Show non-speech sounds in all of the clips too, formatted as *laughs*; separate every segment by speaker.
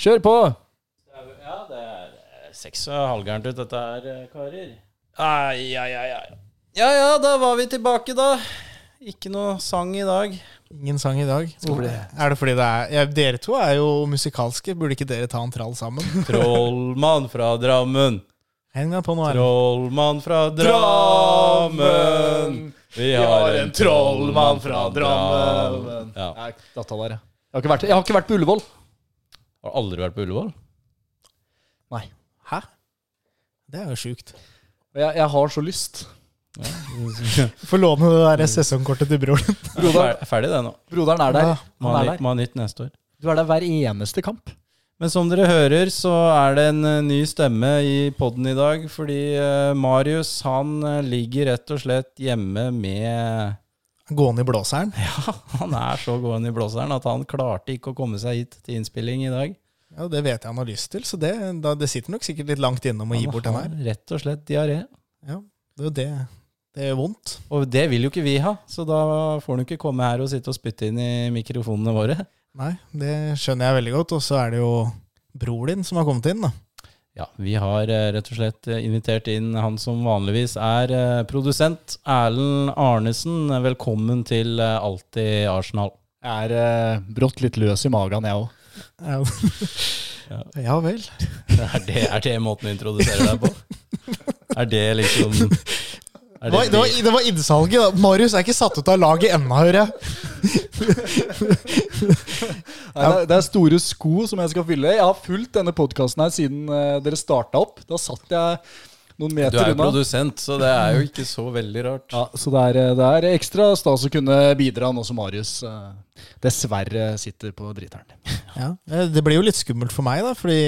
Speaker 1: Kjør på!
Speaker 2: Ja, det er eh, seks og halvgærent ut, dette her, eh, karer. Ai, ai, ai, ai. Ja ja, da var vi tilbake, da. Ikke noe sang i dag.
Speaker 3: Ingen sang i dag. Hvor, er det fordi det er ja, Dere to er jo musikalske. Burde ikke dere ta en trall sammen?
Speaker 2: *laughs* *laughs* Trollmann fra Drammen.
Speaker 3: Heng deg på nå, Erlend.
Speaker 2: Trollmann fra Drammen. Vi har en trollmann fra Drammen. Ja.
Speaker 1: Nei, datt av der, jeg. Jeg har ikke vært, jeg har ikke vært på Ullevål.
Speaker 2: Har du aldri vært på Ullevål?
Speaker 1: Nei.
Speaker 3: Hæ? Det er jo sjukt.
Speaker 1: Og jeg, jeg har så lyst.
Speaker 3: Få låne det der sesongkortet til broren.
Speaker 1: *laughs* Broderen,
Speaker 2: Fer- Ferdig det nå.
Speaker 1: broderen er der.
Speaker 3: Ja.
Speaker 2: Må ha
Speaker 1: Han er
Speaker 2: nytt-
Speaker 1: der.
Speaker 2: må ha nytt neste år.
Speaker 1: Du er der hver eneste kamp.
Speaker 2: Men som dere hører, så er det en eh, ny stemme i podden i dag. Fordi eh, Marius, han eh, ligger rett og slett hjemme med *laughs*
Speaker 3: Gående i blåseren.
Speaker 2: Ja, han er så gående i blåseren at han klarte ikke å komme seg hit til innspilling i dag.
Speaker 3: Ja, det vet jeg han har lyst til, så det, da, det sitter nok sikkert litt langt innom å gi
Speaker 2: Han
Speaker 3: bort den
Speaker 2: har
Speaker 3: her.
Speaker 2: Rett og slett diaré.
Speaker 3: Ja, det er jo det. Det gjør vondt.
Speaker 2: Og det vil jo ikke vi ha, så da får han jo ikke komme her og sitte og spytte inn i mikrofonene våre.
Speaker 3: Nei, det skjønner jeg veldig godt. Og så er det jo bror din som har kommet inn, da.
Speaker 2: *laughs* Ja, vi har eh, rett og slett eh, invitert inn han som vanligvis er eh, produsent, Erlend Arnesen. Velkommen til eh, Alltid Arsenal.
Speaker 1: Jeg er eh, brått litt løs i magen, jeg òg.
Speaker 3: Ja, ja vel.
Speaker 2: Er det, er det måten å introdusere deg på? Er det liksom er
Speaker 3: Det var, det, var, det var innsalget, da. Marius er ikke satt ut av laget ennå, hører jeg.
Speaker 1: Det, er- det er store sko som jeg skal fylle. Jeg har fulgt denne podkasten her siden eh, dere starta opp. Da satt jeg noen
Speaker 2: Du er
Speaker 1: meter
Speaker 2: jo
Speaker 1: unna.
Speaker 2: produsent, så det er jo ikke så veldig rart.
Speaker 1: Ja, så det er, eh, det er ekstra stas å kunne bidra nå som Marius eh, dessverre sitter på driteren.
Speaker 3: Ja. eh, Det blir jo litt skummelt for meg, da, fordi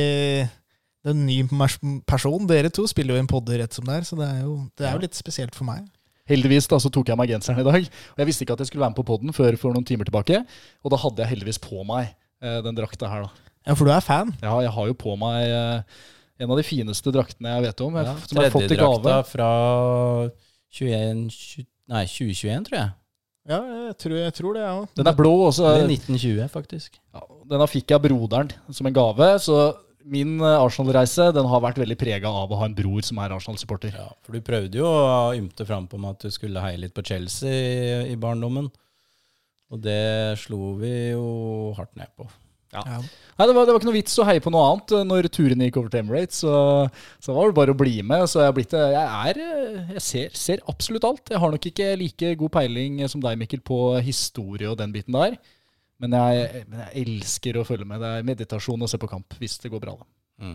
Speaker 3: det er en ny mers- person. Dere to spiller jo i en podde rett som det er, så det er jo, det er jo litt spesielt for meg.
Speaker 1: Heldigvis da, så tok jeg meg genseren i dag. Og jeg visste ikke at jeg skulle være med på poden før for noen timer tilbake. Og da hadde jeg heldigvis på meg eh, den drakta her, da.
Speaker 3: Ja, for du er fan.
Speaker 1: Ja, jeg har jo på meg eh, en av de fineste draktene jeg vet om. Jeg,
Speaker 2: Ja,
Speaker 1: som jeg har fått i
Speaker 2: Tredjedrakta
Speaker 1: gave.
Speaker 2: fra 21, tju- nei, 2021, tror jeg.
Speaker 3: Ja, jeg tror, jeg tror det, jeg òg.
Speaker 1: Den er blå også.
Speaker 2: Eller 1920, faktisk.
Speaker 1: Ja, denne fikk jeg av broderen som en gave. Så min eh, Arsenal-reise den har vært veldig prega av å ha en bror som er Arsenal-supporter.
Speaker 2: Ja, for du prøvde jo å ymte fram på meg at du skulle heie litt på Chelsea i- i barndommen. Og det slo vi jo hardt ned på.
Speaker 3: Ja.
Speaker 1: Nei, det var, det var ikke noe vits å heie på noe annet eh, når turene gikk over til Emirates. Så, så var det bare å bli med. Så jeg, har blitt, eh, jeg, er, eh, jeg ser, ser absolutt alt. Jeg har nok ikke like god peiling eh, som deg, Mikkel, på historie og den biten der. Men jeg, men jeg elsker å følge med. Det er meditasjon å se på kamp, hvis det går bra. da.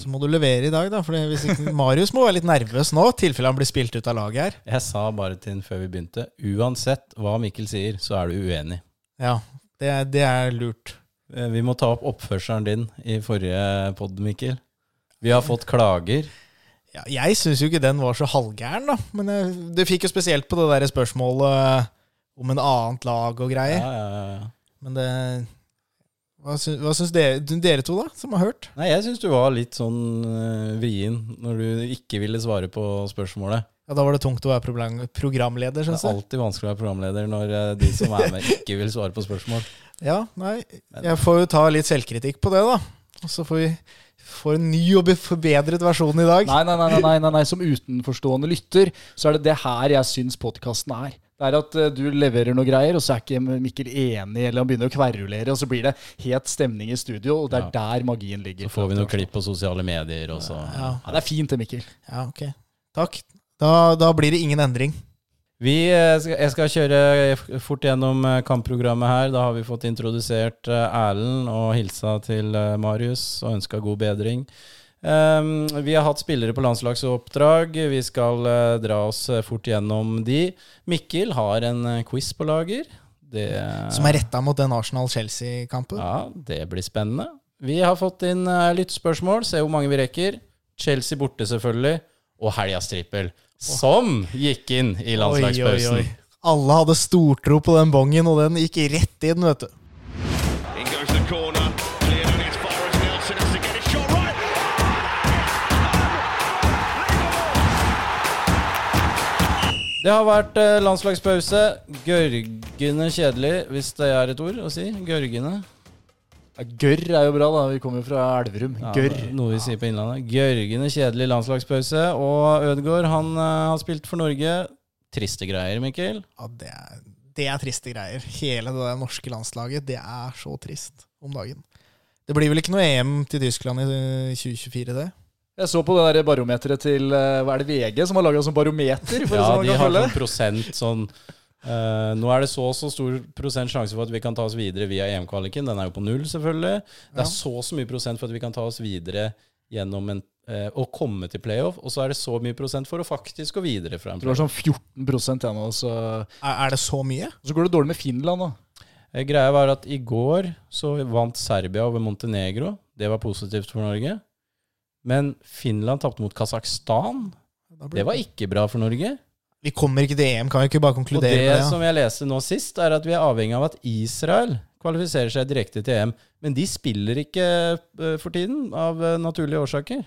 Speaker 3: Så må du levere i dag, da. For hvis ikke, *laughs* Marius må være litt nervøs nå, i tilfelle han blir spilt ut av laget her.
Speaker 2: Jeg sa bare til den før vi begynte, uansett hva Mikkel sier, så er du uenig.
Speaker 3: Ja, det, er- det er lurt.
Speaker 2: Eh, Vi må ta opp oppførselen din i forrige pod, Mikkel. Vi har fått klager.
Speaker 3: Ja, jeg syns jo ikke den var så halvgæren, da. Men jeg- du fikk jo spesielt på det der spørsmålet om en annet lag og
Speaker 2: Ja,
Speaker 3: greier.
Speaker 2: ja, ja.
Speaker 3: Men det Hva syns, hva syns dere, dere to, da, som har hørt?
Speaker 2: Nei, jeg syns du var litt sånn eh, vrien når du ikke ville svare på spørsmålet.
Speaker 3: Ja, Da var det tungt å være program, programleder,
Speaker 2: Det
Speaker 3: syns
Speaker 2: er
Speaker 3: jeg.
Speaker 2: alltid vanskelig å være programleder når eh, de som er med, ikke vil svare på spørsmål.
Speaker 3: Ja, nei, jeg får jo ta litt selvkritikk på det, da. Og så får vi får en ny og be- forbedret versjon i dag.
Speaker 1: Nei, nei, nei, nei, nei, nei, nei. Som utenforstående lytter, så er det det her jeg syns podkasten er. Det er at eh, du leverer noe greier, og så er ikke Mikkel enig, eller han begynner å kverulere, og så blir det het stemning i studio, og det er der magien ligger.
Speaker 2: Så får vi noen klipp på sosiale medier, og så
Speaker 3: Ja,
Speaker 1: Ja, det er fint det, Mikkel.
Speaker 3: ja ok. Takk. Da, da blir det ingen endring.
Speaker 2: Vi, eh, skal- jeg skal kjøre f- fort gjennom eh, kampprogrammet her. Da har vi fått introdusert eh, Erlend og hilsa til eh, Marius og ønska god bedring. Um, Vi har hatt spillere på landslagsoppdrag. Vi skal eh, dra oss eh, fort gjennom de. Mikkel har en eh, quiz på lager. Det,
Speaker 3: Som er retta mot den Arsenal-Chelsea-kampen.
Speaker 2: Ja, det blir spennende. Vi har fått inn eh, lyttspørsmål. Se hvor mange vi rekker. Chelsea borte, selvfølgelig. Og helgas trippel, som gikk inn i landslagspausen.
Speaker 3: Alle hadde stortro på den bongen, og den gikk rett inn, vet du.
Speaker 4: In goes the corner, cleared on its far as Nelson has to get a shot right.
Speaker 2: Det har vært eh, landslagspause. Gørgende kjedelig, hvis det er et ord å si. Gørgende.
Speaker 1: Ja, Gørr er jo bra, da. Vi kommer jo fra Elverum.
Speaker 2: Ja,
Speaker 1: Gørr.
Speaker 2: det er Noe vi sier på Innlandet. Gørgende kjedelig landslagspause. Og Ødegaard, han eh, har spilt for Norge. Triste greier, Mikkel.
Speaker 3: Ja, det, er, det er triste greier. Hele det der norske landslaget, det er så trist om dagen. Det blir vel ikke noe EM til Tyskland i eh, 2024, det?
Speaker 1: Jeg så på det der barometeret til eh, Hva er det VG som har laga som barometer? For
Speaker 2: Ja,
Speaker 1: ja, sånn
Speaker 2: de har
Speaker 1: følge.
Speaker 2: sånn prosent sånn eh, Nå er det så og så stor prosent sjanse for at vi kan ta oss videre via EM-kvaliken. Den er jo på null, selvfølgelig. Det
Speaker 3: Ja.
Speaker 2: er så og så mye prosent for at vi kan ta oss videre gjennom en eh, å komme til playoff, og så er det så mye prosent for å faktisk gå videre fra en
Speaker 1: Jeg tror det
Speaker 2: playoff.
Speaker 1: var sånn 14 jeg nå. Så,
Speaker 3: Er, er det så mye?
Speaker 1: så går det dårlig med Finland, da.
Speaker 2: Eh, Greia var at i går så vant Serbia over Montenegro. Det var positivt for Norge. Men Finland tapte mot Kasakhstan.
Speaker 3: Da blir-
Speaker 2: Det var ikke bra for Norge.
Speaker 3: Vi kommer ikke til EM, kan vi ikke bare
Speaker 2: Og
Speaker 3: konkludere
Speaker 2: det
Speaker 3: med det? Ja?
Speaker 2: som jeg leste nå sist, er at vi er avhengig av at Israel kvalifiserer seg direkte til EM. Men de spiller ikke eh, for tiden, av eh, naturlige årsaker.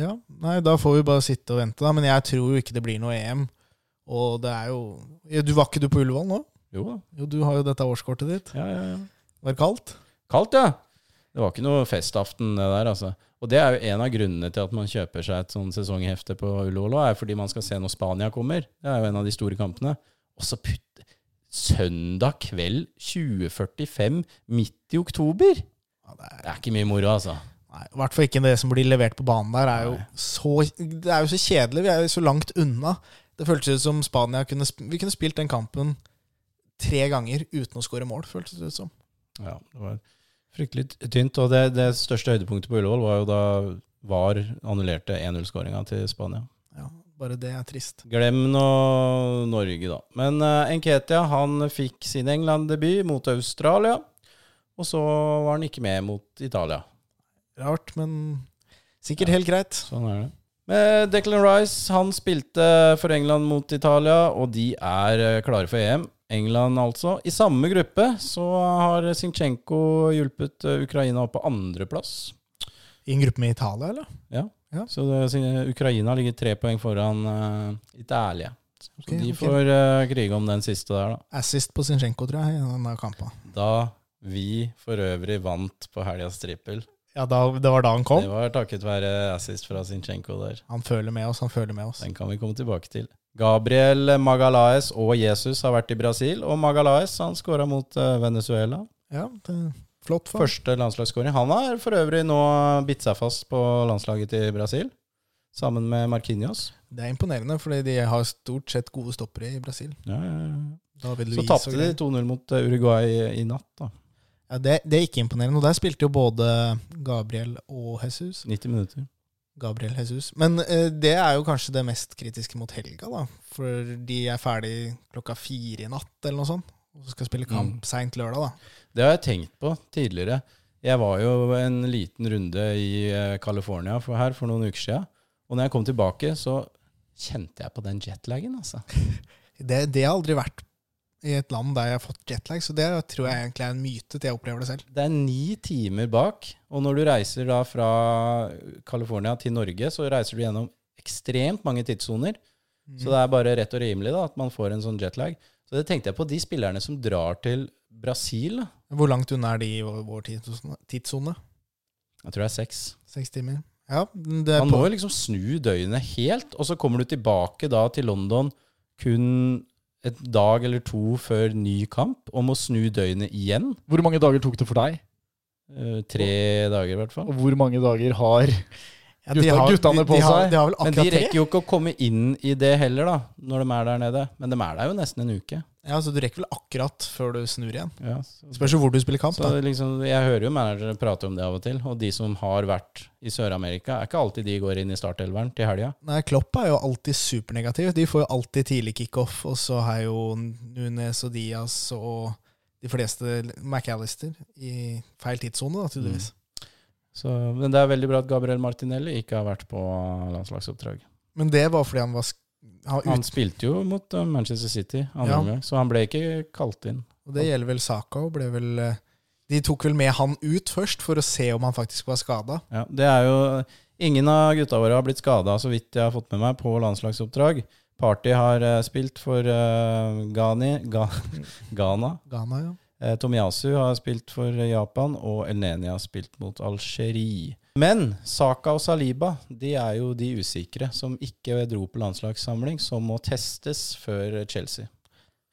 Speaker 3: Ja, nei, da får vi bare sitte og vente, da. Men jeg tror jo ikke det blir noe EM. Og det er jo ja, Du Var ikke du på Ullevål nå?
Speaker 2: Jo da.
Speaker 3: Jo, du har jo dette årskortet ditt.
Speaker 2: Ja, ja, ja.
Speaker 3: Var det kaldt?
Speaker 2: Kaldt, ja. Det var ikke noe festaften, det der, altså. Og det er jo en av grunnene til at man kjøper seg et sånn sesonghefte på Ullevål, er fordi man skal se når Spania kommer. Det er jo en av de store kampene. Og så putt Søndag kveld 20.45, midt i oktober.
Speaker 3: Ja, det er,
Speaker 2: Det er ikke mye moro, altså.
Speaker 3: nei, I hvert fall ikke det som blir levert på banen der. Er jo så, det er jo så kjedelig. Vi er jo så langt unna. Det føltes ut som Spania kunne, sp- Vi kunne spilt den kampen tre ganger uten å skåre mål, føltes det ut som.
Speaker 2: Ja, det var fryktelig t- tynt. Og det, det største høydepunktet på Ullevål var jo da VAR annullerte 1-0-skåringa til Spania.
Speaker 3: Ja, bare det er trist.
Speaker 2: Glem nå Norge, da. Men eh, Enketia han fikk sin England-debut mot Australia. Og så var han ikke med mot Italia.
Speaker 3: Rart, men sikkert helt greit.
Speaker 2: Sånn er det. Men Declan Rice han spilte for England mot Italia, og de er eh, klare for EM. England altså. I samme gruppe så har Sinchenko hjulpet eh, Ukraina opp på andreplass.
Speaker 3: I en gruppe med Italia, eller?
Speaker 2: Så det, siden Ukraina ligger tre poeng foran eh, Italia. Så
Speaker 3: Ok,
Speaker 2: de
Speaker 3: ok.
Speaker 2: får eh, krige om den siste der, da.
Speaker 3: Assist på Zinchenko, tror jeg, i denne kampen.
Speaker 2: Da vi for øvrig vant på helgas trippel.
Speaker 3: Ja, da, det var da han kom.
Speaker 2: Det var takket være assist fra Sinchenko der.
Speaker 3: Han føler med oss, han føler med oss.
Speaker 2: Den kan vi komme tilbake til. Gabriel Magalaes og Jesus har vært i Brasil, og Magalaes han skåra mot eh, Venezuela.
Speaker 3: Ja, det, flott for
Speaker 2: Første landslagsskåring. Han har for øvrig nå bitt seg fast på landslaget til Brasil, sammen med Marquinhos.
Speaker 3: Det er imponerende, fordi de har stort sett gode stoppere i Brasil.
Speaker 2: Ja, ja, ja.
Speaker 3: David
Speaker 2: Så
Speaker 3: Luiz
Speaker 2: tapte
Speaker 3: og
Speaker 2: de
Speaker 3: greier.
Speaker 2: 2-0 mot eh, Uruguay i- i natt, da.
Speaker 3: Ja, det, det er ikke imponerende. Og der spilte jo både Gabriel og Jesus.
Speaker 2: 90 minutter.
Speaker 3: Gabriel Jesus. Men eh, det er jo kanskje det mest kritiske mot helga, da. For de er ferdig klokka fire i natt, eller noe sånt. Og så skal spille kamp seint lørdag, da.
Speaker 2: Det har jeg tenkt på tidligere. Jeg var jo en liten runde i eh, California for her for noen uker siden. Og når jeg kom tilbake, så kjente jeg på den jetlagen, altså.
Speaker 3: Det, det har aldri vært i et land der jeg har fått jetlag, så det tror jeg egentlig er en myte til jeg opplever det selv.
Speaker 2: Det er ni timer bak, og når du reiser da fra California til Norge, så reiser du gjennom ekstremt mange tidssoner. Så det er bare rett og rimelig da, at man får en sånn jetlag. Så det tenkte jeg på de spillerne som drar til Brasil. da.
Speaker 3: Hvor langt unna er de i vår- vår tidssone- tidssone?
Speaker 2: Jeg tror det er seks.
Speaker 3: Seks timer? Ja, det er
Speaker 2: Man må
Speaker 3: Eh, på,
Speaker 2: jo liksom snu døgnet helt, og så kommer du tilbake da til London kun et dag eller to før ny kamp, og må snu døgnet igjen.
Speaker 1: Hvor mange dager tok det for deg?
Speaker 2: Eh, tre dager, i hvert fall.
Speaker 1: Og hvor mange dager har
Speaker 3: ja,
Speaker 1: gutta- guttene på
Speaker 3: de, de har,
Speaker 1: seg.
Speaker 3: De har vel
Speaker 2: Men
Speaker 3: akkurat
Speaker 2: de
Speaker 3: tre?
Speaker 2: rekker jo ikke å komme inn i det heller, da, når de er der nede. Men de er der jo nesten en uke.
Speaker 3: Ja, så du rekker vel akkurat før du snur igjen.
Speaker 2: Ja, så
Speaker 3: Spørs jo hvor du spiller kamp,
Speaker 2: så
Speaker 3: da.
Speaker 2: liksom, jeg hører jo managere prate om det av og til, og de som har vært i Sør-Amerika, er ikke alltid de går inn i startelveren til helga.
Speaker 3: Nei, Klopp er jo alltid supernegativ. De får jo alltid tidlig kickoff, og så har jo Nunes og Diaz og de fleste McAllister i feil tidssone, da, tydeligvis.
Speaker 2: Mm. Så, men det er veldig bra at Gabriel Martinelli ikke har vært på landslagsoppdrag.
Speaker 3: Men det var fordi han var sk- han var
Speaker 2: Han
Speaker 3: ut,
Speaker 2: spilte jo mot eh, Manchester City andre
Speaker 3: Ja.
Speaker 2: omgang, så han ble ikke kalt inn.
Speaker 3: og Det gjelder vel Saka og ble vel eh, De tok vel med han ut først, for å se om han faktisk var skada.
Speaker 2: Ja, det er jo Ingen av gutta våre har blitt skada, så vidt jeg har fått med meg, på landslagsoppdrag. Party har eh, spilt for eh, Ghani, Ga, *laughs* Ghana.
Speaker 3: Ghana, ja.
Speaker 2: Eh, Tomiyasu har spilt for Japan, og Elneni har spilt mot Algerie. Men Saka og Saliba de er jo de usikre som ikke dro på landslagssamling, som må testes før Chelsea.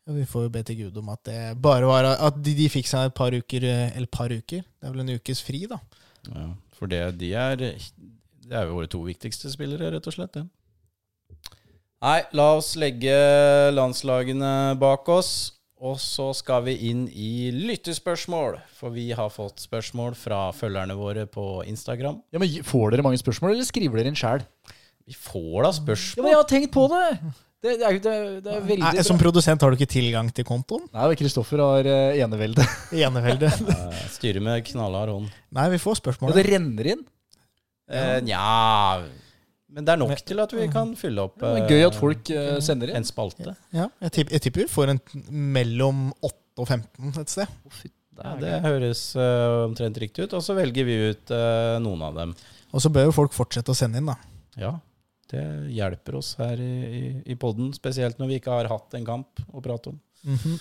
Speaker 3: Ja, Vi får jo be til Gud om at det bare var at de, de fikk seg et par uker eh, Eller par uker, det er vel en ukes fri, da.
Speaker 2: Ja, for det, de er Det er jo våre to viktigste spillere, rett og slett. det. Nei, la oss legge landslagene bak oss. Og så skal vi inn i lyttespørsmål, for vi har fått spørsmål fra følgerne våre på Instagram.
Speaker 1: Ja, men Får dere mange spørsmål, eller skriver dere inn sjæl?
Speaker 2: Vi får da
Speaker 1: Ja,
Speaker 2: spørsmål.
Speaker 1: men jeg har tenkt på det! Det, det, er, jo- det, er- det er veldig
Speaker 3: Nei, som
Speaker 1: bra.
Speaker 3: produsent har du ikke tilgang til kontoen?
Speaker 1: Nei, Kristoffer har eh, enevelde.
Speaker 3: I enevelde.
Speaker 2: Eh, Styrer med knallhard hånd.
Speaker 3: *laughs* Nei, vi får
Speaker 1: Og
Speaker 3: spørsmål.
Speaker 1: det renner inn.
Speaker 2: Eh, Nja Men det er nok til at vi kan fylle opp
Speaker 1: Det
Speaker 2: eh,
Speaker 1: er Mm. gøy at folk eh, sender inn.
Speaker 2: en spalte.
Speaker 3: Ja, jeg, tipp, jeg tipper vi får en t- mellom 8 og 15 et sted.
Speaker 2: Ja, det høres eh, omtrent riktig ut. Og så velger vi ut eh, noen av dem.
Speaker 3: Og så bør jo folk fortsette å sende inn, da.
Speaker 2: Ja, det hjelper oss her i, i, i podden, spesielt når vi ikke har hatt en kamp å prate om.
Speaker 3: Mhm.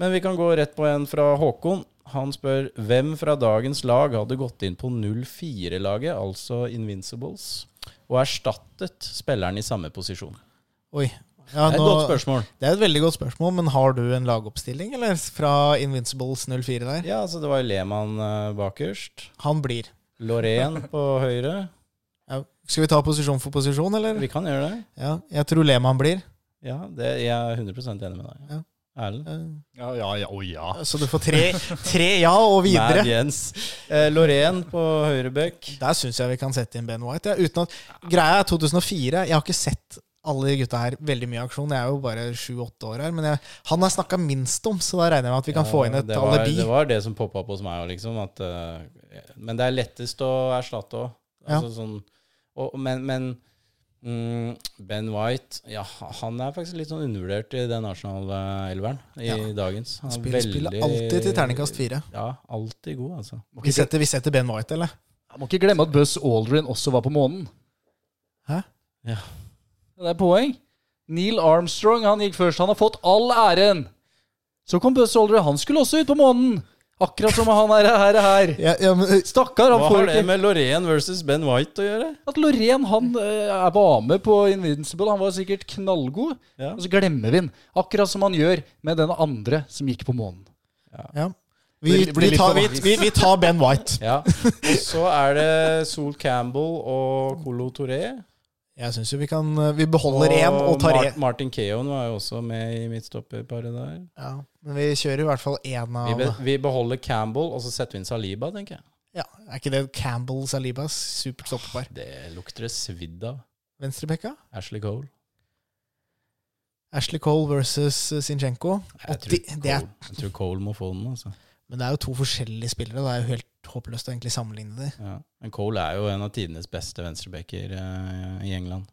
Speaker 2: Men vi kan gå rett på en fra Håkon. Han spør hvem fra dagens lag hadde gått inn på 0-4-laget, altså Invincibles, og erstattet spilleren i samme posisjon?
Speaker 3: Oi. Ja,
Speaker 2: det er et
Speaker 3: nå,
Speaker 2: godt
Speaker 3: *laughs*
Speaker 2: spørsmål.
Speaker 3: det er et veldig godt spørsmål, men har du en lagoppstilling, eller? Fra Invincibles 04 der?
Speaker 2: Ja, altså Det var jo Lehmann eh, bakerst.
Speaker 3: Han blir. *laughs*
Speaker 2: Lorén på høyre.
Speaker 3: Ja. Skal vi ta posisjon for posisjon, eller?
Speaker 2: Vi kan gjøre det.
Speaker 3: Ja, jeg tror Lehmann blir.
Speaker 2: Ja, det, Jeg er 100 enig med deg.
Speaker 3: Ja.
Speaker 2: Erlend?
Speaker 3: Eh,
Speaker 1: Ja, ja, ja, å ja.
Speaker 3: Så du får tre, tre ja og videre.
Speaker 2: Mad Jens. Eh, Lorén på høyre bekk.
Speaker 3: Der syns jeg vi kan sette inn Ben White. Ja, uten at, greia er 2004. Jeg har ikke sett alle de gutta her veldig mye i aksjon. Jeg er jo bare sju-åtte år her. Men jeg, han har snakka minst om, så da regner jeg med at vi kan få inn et
Speaker 2: det var,
Speaker 3: alibi.
Speaker 2: Det var det som poppa opp hos meg òg, liksom. At, eh, men det er lettest å erstatte òg. Altså, sånn, og- men men mm, Ben White ja, han er faktisk litt sånn undervurdert i den Arsenal-elveren i
Speaker 3: Ja.
Speaker 2: dagens. Han er
Speaker 3: Spiller, spiller alltid til terningkast fire.
Speaker 2: Ja, alltid god, altså.
Speaker 1: Må
Speaker 3: Vi
Speaker 1: ikke,
Speaker 3: setter, vi setter Ben White, eller?
Speaker 1: gle- må ikke glemme at Buzz Aldrin også var på månen.
Speaker 3: Hæ?
Speaker 2: Ja.
Speaker 1: Det er poeng. Neil Armstrong han gikk først. Han har fått all æren. Så kom Buzz Aldrin. Han skulle også ut på månen. Akkurat som han er her. her.
Speaker 3: Ja, ja, men, eh,
Speaker 1: Stakkar, han
Speaker 2: Hva har
Speaker 1: får
Speaker 2: det
Speaker 1: ikke
Speaker 2: med Lorraine versus Ben White å gjøre?
Speaker 1: At Lorén han eh, var med på Invincible, han var sikkert knallgod.
Speaker 2: Ja.
Speaker 1: Og så glemmer vi han. Akkurat som han gjør med den andre som gikk på månen.
Speaker 3: ja. Vi,
Speaker 1: Det blir- blir
Speaker 3: vi,
Speaker 1: litt
Speaker 3: tar, vi,
Speaker 1: for
Speaker 3: vi, vi tar Ben White. *laughs*
Speaker 2: Ja. Og så er det Sol Campbell og Colo Touré.
Speaker 3: Jeg syns jo vi kan eh, Vi beholder én og tar
Speaker 2: Mar-
Speaker 3: én.
Speaker 2: Martin Keon var jo også med i midtstopperparet der.
Speaker 3: Ja, men vi kjører i hvert fall én
Speaker 2: Vi,
Speaker 3: av
Speaker 2: be, vi beholder Campbell, og så setter vi inn Saliba, tenker jeg.
Speaker 3: ja, Er ikke det Campbell Salibas supert stoppepar?
Speaker 2: Det lukter det svidd av.
Speaker 3: Venstrebekka?
Speaker 2: Ashley Cole.
Speaker 3: Ashley Cole versus eh, Zinchenko.
Speaker 2: Jeg
Speaker 3: Og
Speaker 2: tror,
Speaker 3: det- det er-
Speaker 2: Cole, jeg tror Cole må få den, altså.
Speaker 3: Men det er jo to forskjellige spillere. og Det er jo helt håpløst å egentlig sammenligne dem.
Speaker 2: Ja. Men Cole er jo en av tidenes beste venstrebacker eh, i England.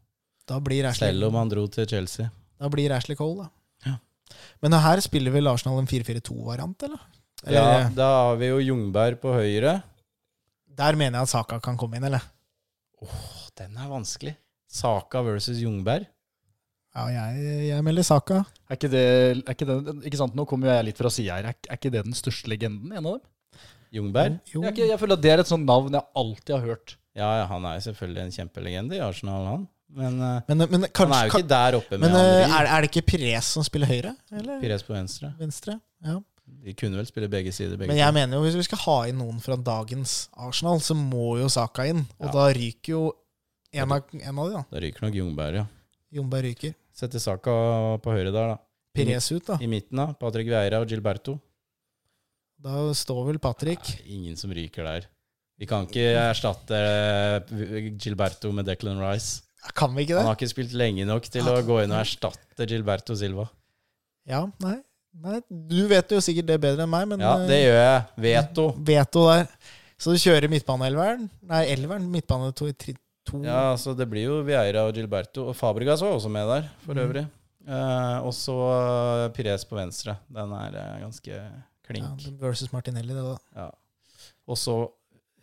Speaker 3: Da blir Ashley,
Speaker 2: Selv om han dro til Chelsea.
Speaker 3: da blir Ashley Cole, da.
Speaker 2: Ja.
Speaker 3: Men her spiller vel Arsenal en 4-4-2-variant, eller? eller eh,
Speaker 2: Ja, da har vi jo Jungberg på høyre.
Speaker 3: Der mener jeg at Saka kan komme inn, eller?
Speaker 2: Åh, den er vanskelig. Saka versus Jungberg.
Speaker 3: Ja, jeg, jeg melder Saka.
Speaker 1: Er ikke det, er ikke det ikke sant, Nå kommer jo jeg litt fra sida her. Er, ikke- er ikke det den største legenden? En av dem?
Speaker 2: Jungberg?
Speaker 3: Jo.
Speaker 1: Jeg, er ikke, jeg føler at det er et sånt navn jeg alltid har hørt.
Speaker 2: Ja, ja, han er jo selvfølgelig en kjempelegende i Arsenal, han. Men eh,
Speaker 3: Men, men
Speaker 2: han
Speaker 3: kanskje
Speaker 2: er jo ikke der oppe med
Speaker 3: Men eh,
Speaker 2: Henri.
Speaker 3: er, er det ikke Perez som spiller høyre? Eller
Speaker 2: Pires på venstre.
Speaker 3: venstre? Ja.
Speaker 2: De kunne vel spille begge sider, begge
Speaker 3: Men jeg mener jo hvis vi skal ha inn noen fra dagens Arsenal, så må jo Saka inn. Og
Speaker 2: Ja.
Speaker 3: da ryker jo en av, en av de, da.
Speaker 2: to. Da ryker nok Jungberg, ja.
Speaker 3: Jomberg ryker.
Speaker 2: Setter Saka på høyre der, da.
Speaker 3: Perez ut, da.
Speaker 2: I midten, da. Patrick Vieira og Gilberto.
Speaker 3: Da står vel Patrick.
Speaker 2: Nei, ingen som ryker der. Vi kan ikke erstatte eh, Gilberto med Declan Rice.
Speaker 3: Kan vi ikke det?
Speaker 2: Han har ikke spilt lenge nok til å gå inn og erstatte Gilberto Silva.
Speaker 3: Ja, nei. nei. Du vet jo sikkert det bedre enn meg, men
Speaker 2: Ja, det gjør jeg. Veto.
Speaker 3: eh, veto der. Så du kjører midtbaneelveren? Nei, elveren. Midtbane to, tri, to.
Speaker 2: Ja, så det blir jo Vieira og Gilberto. Og Fabregas var også med der, for
Speaker 3: Mm.
Speaker 2: øvrig. Eh, og så eh, Pires på venstre. Den er eh, ganske
Speaker 3: Ja,
Speaker 2: klink.
Speaker 3: versus Martinelli, det da.
Speaker 2: Ja. Og så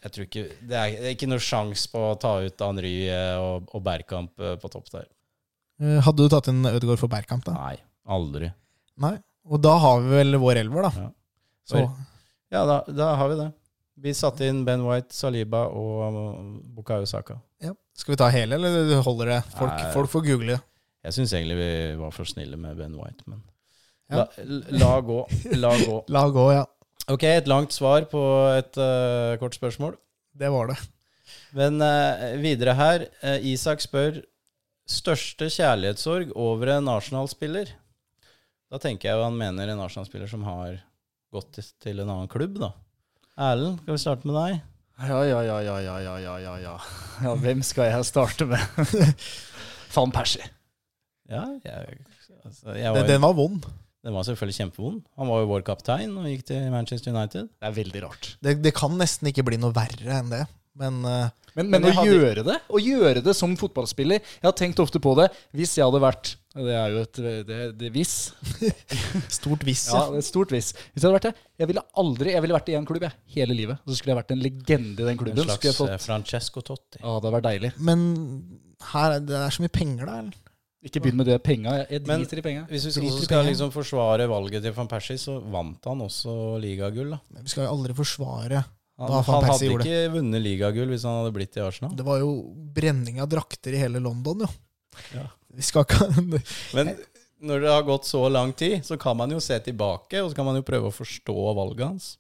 Speaker 2: jeg tror ikke, Det er det er ikke noe sjanse på å ta ut Henry eh, og, og Bergkamp eh, på topp der.
Speaker 3: Eh, Hadde du tatt inn Ødegaard for Bergkamp, da?
Speaker 2: Nei, aldri.
Speaker 3: Nei. Og da har vi vel vår elver, da. Så
Speaker 2: Oi. Ja, da, da har vi det. Vi satte inn Ben White, Saliba og um, Bukayo Saka.
Speaker 3: ja. Skal vi ta hele, eller holder det? Folk,
Speaker 2: Nei.
Speaker 3: folk får google.
Speaker 2: Jeg syns egentlig vi var for snille med Ben White, men
Speaker 3: Ja.
Speaker 2: la, la gå. La *laughs* gå.
Speaker 3: La gå, ja.
Speaker 2: Ok, et langt svar på et eh, kort spørsmål.
Speaker 3: Det var det.
Speaker 2: Men eh, videre her, eh, Isak spør største kjærlighetssorg over en Arsenal-spiller. Da tenker jeg jo han mener en Arsenal-spiller som har gått til- til en annen klubb, da. Erlend, skal vi starte med deg?
Speaker 1: Ja, ja, ja, ja, ja, ja, ja, ja, ja. ja hvem skal jeg starte med? *laughs* Van Persie.
Speaker 2: Ja, jeg, altså, jeg var,
Speaker 3: Den, den var vond.
Speaker 2: den var selvfølgelig kjempevond. Han var jo vår kaptein og gikk til Manchester United.
Speaker 1: Det er veldig rart.
Speaker 3: Det, det kan nesten ikke bli noe verre enn det. Men eh,
Speaker 1: Men,
Speaker 2: Men
Speaker 1: men å
Speaker 2: jeg hadde-
Speaker 1: gjøre det å gjøre det som fotballspiller Jeg har tenkt ofte på det. Hvis jeg hadde vært Det er jo et det, det, hvis.
Speaker 3: stort hvis,
Speaker 1: Ja, det er et stort hvis. Hvis jeg hadde vært det Jeg ville aldri Jeg ville vært i en klubb jeg, hele livet. Så skulle jeg vært en legende i den
Speaker 2: En
Speaker 1: klubben. så
Speaker 2: slags
Speaker 1: skulle jeg
Speaker 2: eh,
Speaker 1: fått,
Speaker 2: Francesco Totti.
Speaker 1: ja, det hadde vært deilig.
Speaker 3: Men her, er- det er så mye penger der. eller?
Speaker 1: Ikke begynn med det penga. Jeg, jeg
Speaker 2: Men-
Speaker 1: driter i penga.
Speaker 2: Hvis vi
Speaker 3: Driter
Speaker 2: også
Speaker 3: i
Speaker 2: skal
Speaker 3: penger.
Speaker 2: liksom forsvare valget til van Persie, så vant han også ligagull. da.
Speaker 3: Vi skal jo aldri forsvare.
Speaker 2: Han,
Speaker 3: Hva van
Speaker 2: han hadde
Speaker 3: Persie gjorde.
Speaker 2: ikke vunnet ligagull hvis han hadde blitt i Arsenal.
Speaker 3: Det var jo brenning av drakter i hele London, jo.
Speaker 2: Ja.
Speaker 3: Vi skal ikke *laughs*
Speaker 2: Men når det har gått så lang tid, så kan man jo se tilbake, og så kan man jo prøve å forstå valget hans.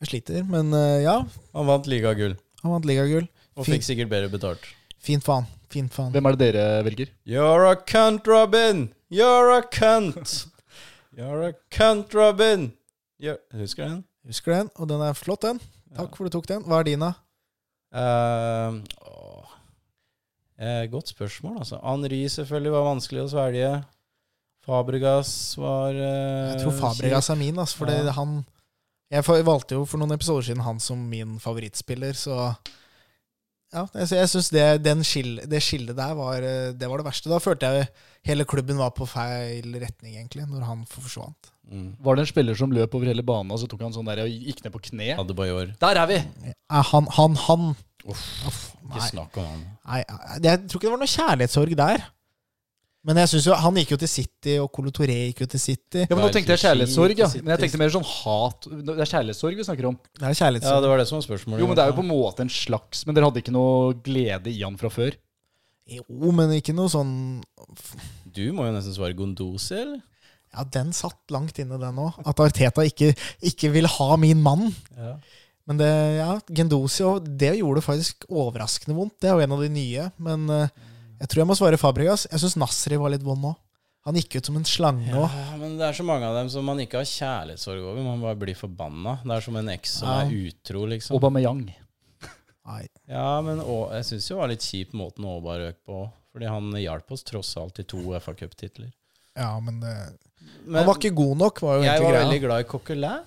Speaker 3: Jeg sliter, men eh, ja.
Speaker 2: Han vant ligagull,
Speaker 3: Han vant ligagull.
Speaker 2: og
Speaker 3: Fint.
Speaker 2: fikk sikkert bedre betalt.
Speaker 3: Fint faen. Fint faen.
Speaker 1: Hvem er det dere velger?
Speaker 2: You're a cunt, Robin! You're a cunt! You're a cunt, Robin! You're... Husker du den?
Speaker 3: Husker den, og den er flott, den. Takk for du tok den. Hva er din, da?
Speaker 2: Ehm, åh. eh, godt spørsmål, altså. Henri selvfølgelig var vanskelig å svelge. Fabregas var eh,
Speaker 3: Jeg tror Fabregas er min, altså, for det-
Speaker 2: Ja.
Speaker 3: han Jeg fa- valgte jo for noen episoder siden han som min favorittspiller, så ja, jeg, sy- jeg syns det, den skill, det skillet der var eh, det, var det verste. Da følte jeg hele klubben var på feil retning, egentlig, når han f- forsvant.
Speaker 2: Mm.
Speaker 1: Var det en spiller som løp over hele banen og så tok han sånn der og gikk ned på kne?
Speaker 2: Adebayor.
Speaker 1: Der er vi!
Speaker 3: Eh, Han, han, han Uff,
Speaker 2: Ikke
Speaker 3: nei,
Speaker 2: snakk om han.
Speaker 3: nei, det- jeg tror ikke det var noe kjærlighetssorg der. Men jeg synes jo, han gikk jo til City, og Colo Touré gikk jo til City.
Speaker 1: Ja, men Nå tenkte jeg kjærlighetssorg, ja. Men jeg
Speaker 2: Sitter-
Speaker 1: tenkte mer sånn hat. Det er kjærlighetssorg vi snakker om.
Speaker 3: Det er
Speaker 2: Ja,
Speaker 3: kjærlighetssorg.
Speaker 2: det var det som var spørsmålet.
Speaker 1: Jo, men det er jo på en måte en slags Men dere hadde ikke noe glede i han fra før?
Speaker 3: Jo, men ikke noe sånn
Speaker 2: Du må jo nesten svare Gondosi, eller?
Speaker 3: Ja, den satt langt inne, den òg. At Arteta ikke, ikke vil ha min mann.
Speaker 2: Ja.
Speaker 3: Men det, ja, Gendosi og det gjorde faktisk overraskende vondt. Det er jo en av de nye. Men eh, jeg tror jeg må svare Fabregas. Jeg syns Nasri var litt vond òg. Han gikk ut som en slange òg.
Speaker 2: men det er så mange av dem som man ikke har kjærlighetssorg over. Man bare blir forbanna. Det er som en eks som
Speaker 3: Ja.
Speaker 2: er utro, liksom.
Speaker 1: Aubameyang.
Speaker 3: Nei,
Speaker 2: Ja, men Å- jeg syns det var litt kjipt måten Aabar røk på. Fordi han hjalp oss tross alt til to FA Cup-titler.
Speaker 3: ja, men det,
Speaker 2: Men
Speaker 3: Han var ikke god nok, var jo
Speaker 2: jeg
Speaker 3: egentlig
Speaker 2: var
Speaker 3: greia.
Speaker 2: veldig glad i Coquelin.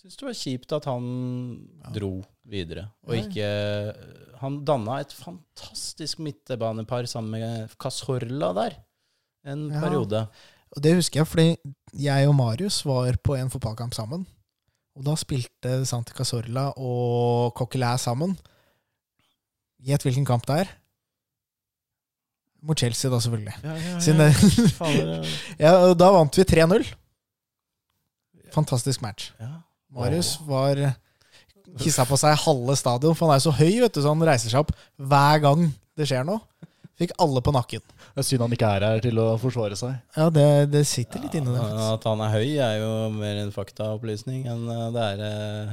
Speaker 2: Syns det var kjipt at han dro videre. Og ikke Han danna et fantastisk midtbanepar sammen med Casorla der en
Speaker 3: Ja.
Speaker 2: periode.
Speaker 3: Og det husker jeg, fordi jeg og Marius var på en fotballkamp sammen. Og da spilte Santi Casorla og Coquelin sammen. Gjett hvilken kamp det er? Mot Chelsea, da, selvfølgelig.
Speaker 2: Ja, ja,
Speaker 3: Siden det, *laughs* ja, og da vant vi 3-0. Fantastisk match. Marius var kissa på seg halve stadion, for han er jo så høy, vet du, så han reiser seg opp hver gang det skjer noe. Fikk alle på nakken.
Speaker 1: Det er synd han ikke er her til å forsvare seg.
Speaker 3: Ja, det, det sitter litt inne, det.
Speaker 2: Ja,
Speaker 3: faktisk.
Speaker 2: At han er høy, er jo mer en faktaopplysning enn eh, det er eh,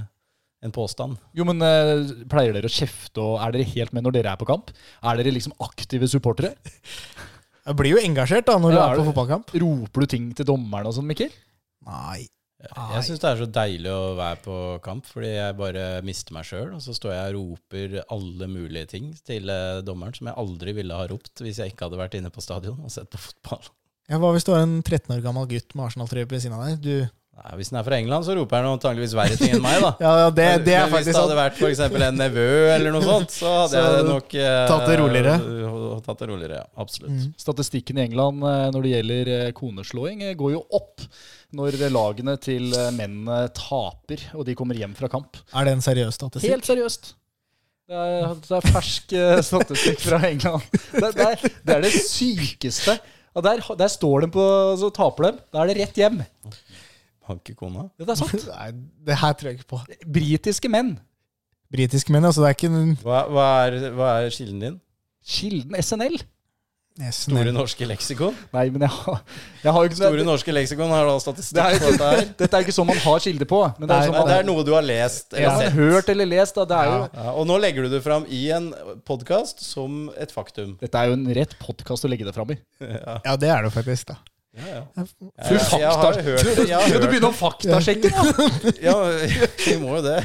Speaker 2: en påstand.
Speaker 1: Jo, men eh, Pleier dere å kjefte, og er dere helt med når dere er på kamp? Er dere liksom aktive supportere?
Speaker 3: Jeg blir jo engasjert da, når du
Speaker 1: Ja,
Speaker 3: er
Speaker 1: er
Speaker 3: på
Speaker 1: du-
Speaker 3: fotballkamp.
Speaker 1: Roper du ting til dommeren og sånn, Mikkel?
Speaker 3: Nei. Nei.
Speaker 2: Jeg syns det er så deilig å være på kamp, fordi jeg bare mister meg sjøl. Og så står jeg og roper alle mulige ting til eh, dommeren som jeg aldri ville ha ropt hvis jeg ikke hadde vært inne på stadion og sett på fotball.
Speaker 3: Ja, Hva hvis du har en 13 år gammel gutt med Arsenal-trøye på siden av deg? Du,
Speaker 2: Nei, hvis den er fra England, så roper han antakeligvis verre ting enn meg, da.
Speaker 3: *laughs* ja, ja, det, det er
Speaker 2: Men Hvis
Speaker 3: faktisk
Speaker 2: det
Speaker 3: sant.
Speaker 2: hadde vært for eksempel en nevø eller noe sånt, så hadde
Speaker 3: *laughs* Så
Speaker 2: jeg nok eh,
Speaker 3: tatt det roligere.
Speaker 2: Tatt det roligere, ja. Absolutt.
Speaker 3: Mm.
Speaker 1: Statistikken i England eh, når det gjelder eh, koneslåing, eh, går jo opp når lagene til eh, mennene taper, og de kommer hjem fra kamp.
Speaker 3: Er det en seriøs statistikk?
Speaker 1: Helt seriøst. Det er, det er fersk *laughs* eh, statistikk fra England. Det, det, er, det er det sykeste. Og der, der står de på, så taper de. Da er det rett hjem.
Speaker 2: Har ikke kona?
Speaker 1: Dette
Speaker 3: *laughs*
Speaker 1: er sant.
Speaker 3: Nei, det her tror jeg ikke på.
Speaker 1: *laughs* Britiske menn.
Speaker 3: Britiske menn, altså. Det er ikke en
Speaker 2: Hva, hva, er, hva er kilden din?
Speaker 1: Kilden SNL.
Speaker 2: Store norske leksikon?
Speaker 1: *laughs* Nei, men jeg har, jeg har jo ikke
Speaker 2: Store norske leksikon har da
Speaker 1: *laughs*
Speaker 2: statistikk
Speaker 1: det er,
Speaker 2: på dette her.
Speaker 1: Dette er jo ikke sånn man har kilde på. Men det er, jo
Speaker 2: Nei,
Speaker 1: sånn man,
Speaker 2: det er noe du har lest
Speaker 1: ja,
Speaker 2: eller
Speaker 1: man
Speaker 2: sett.
Speaker 1: hørt eller lest. Da, det er jo,
Speaker 2: Ja, og nå legger du det fram i en podkast som et faktum.
Speaker 1: dette er jo en rett podkast å legge det fram i.
Speaker 2: Ja,
Speaker 3: Ja, det er det jo faktisk, da.
Speaker 2: ja, ja.
Speaker 1: Fru
Speaker 2: Jeg, jeg har
Speaker 1: fakta.
Speaker 2: hørt det. Jeg har
Speaker 1: Skal du
Speaker 2: hørt
Speaker 1: begynne å faktasjekke? da?
Speaker 2: Ja, *laughs* vi må jo det.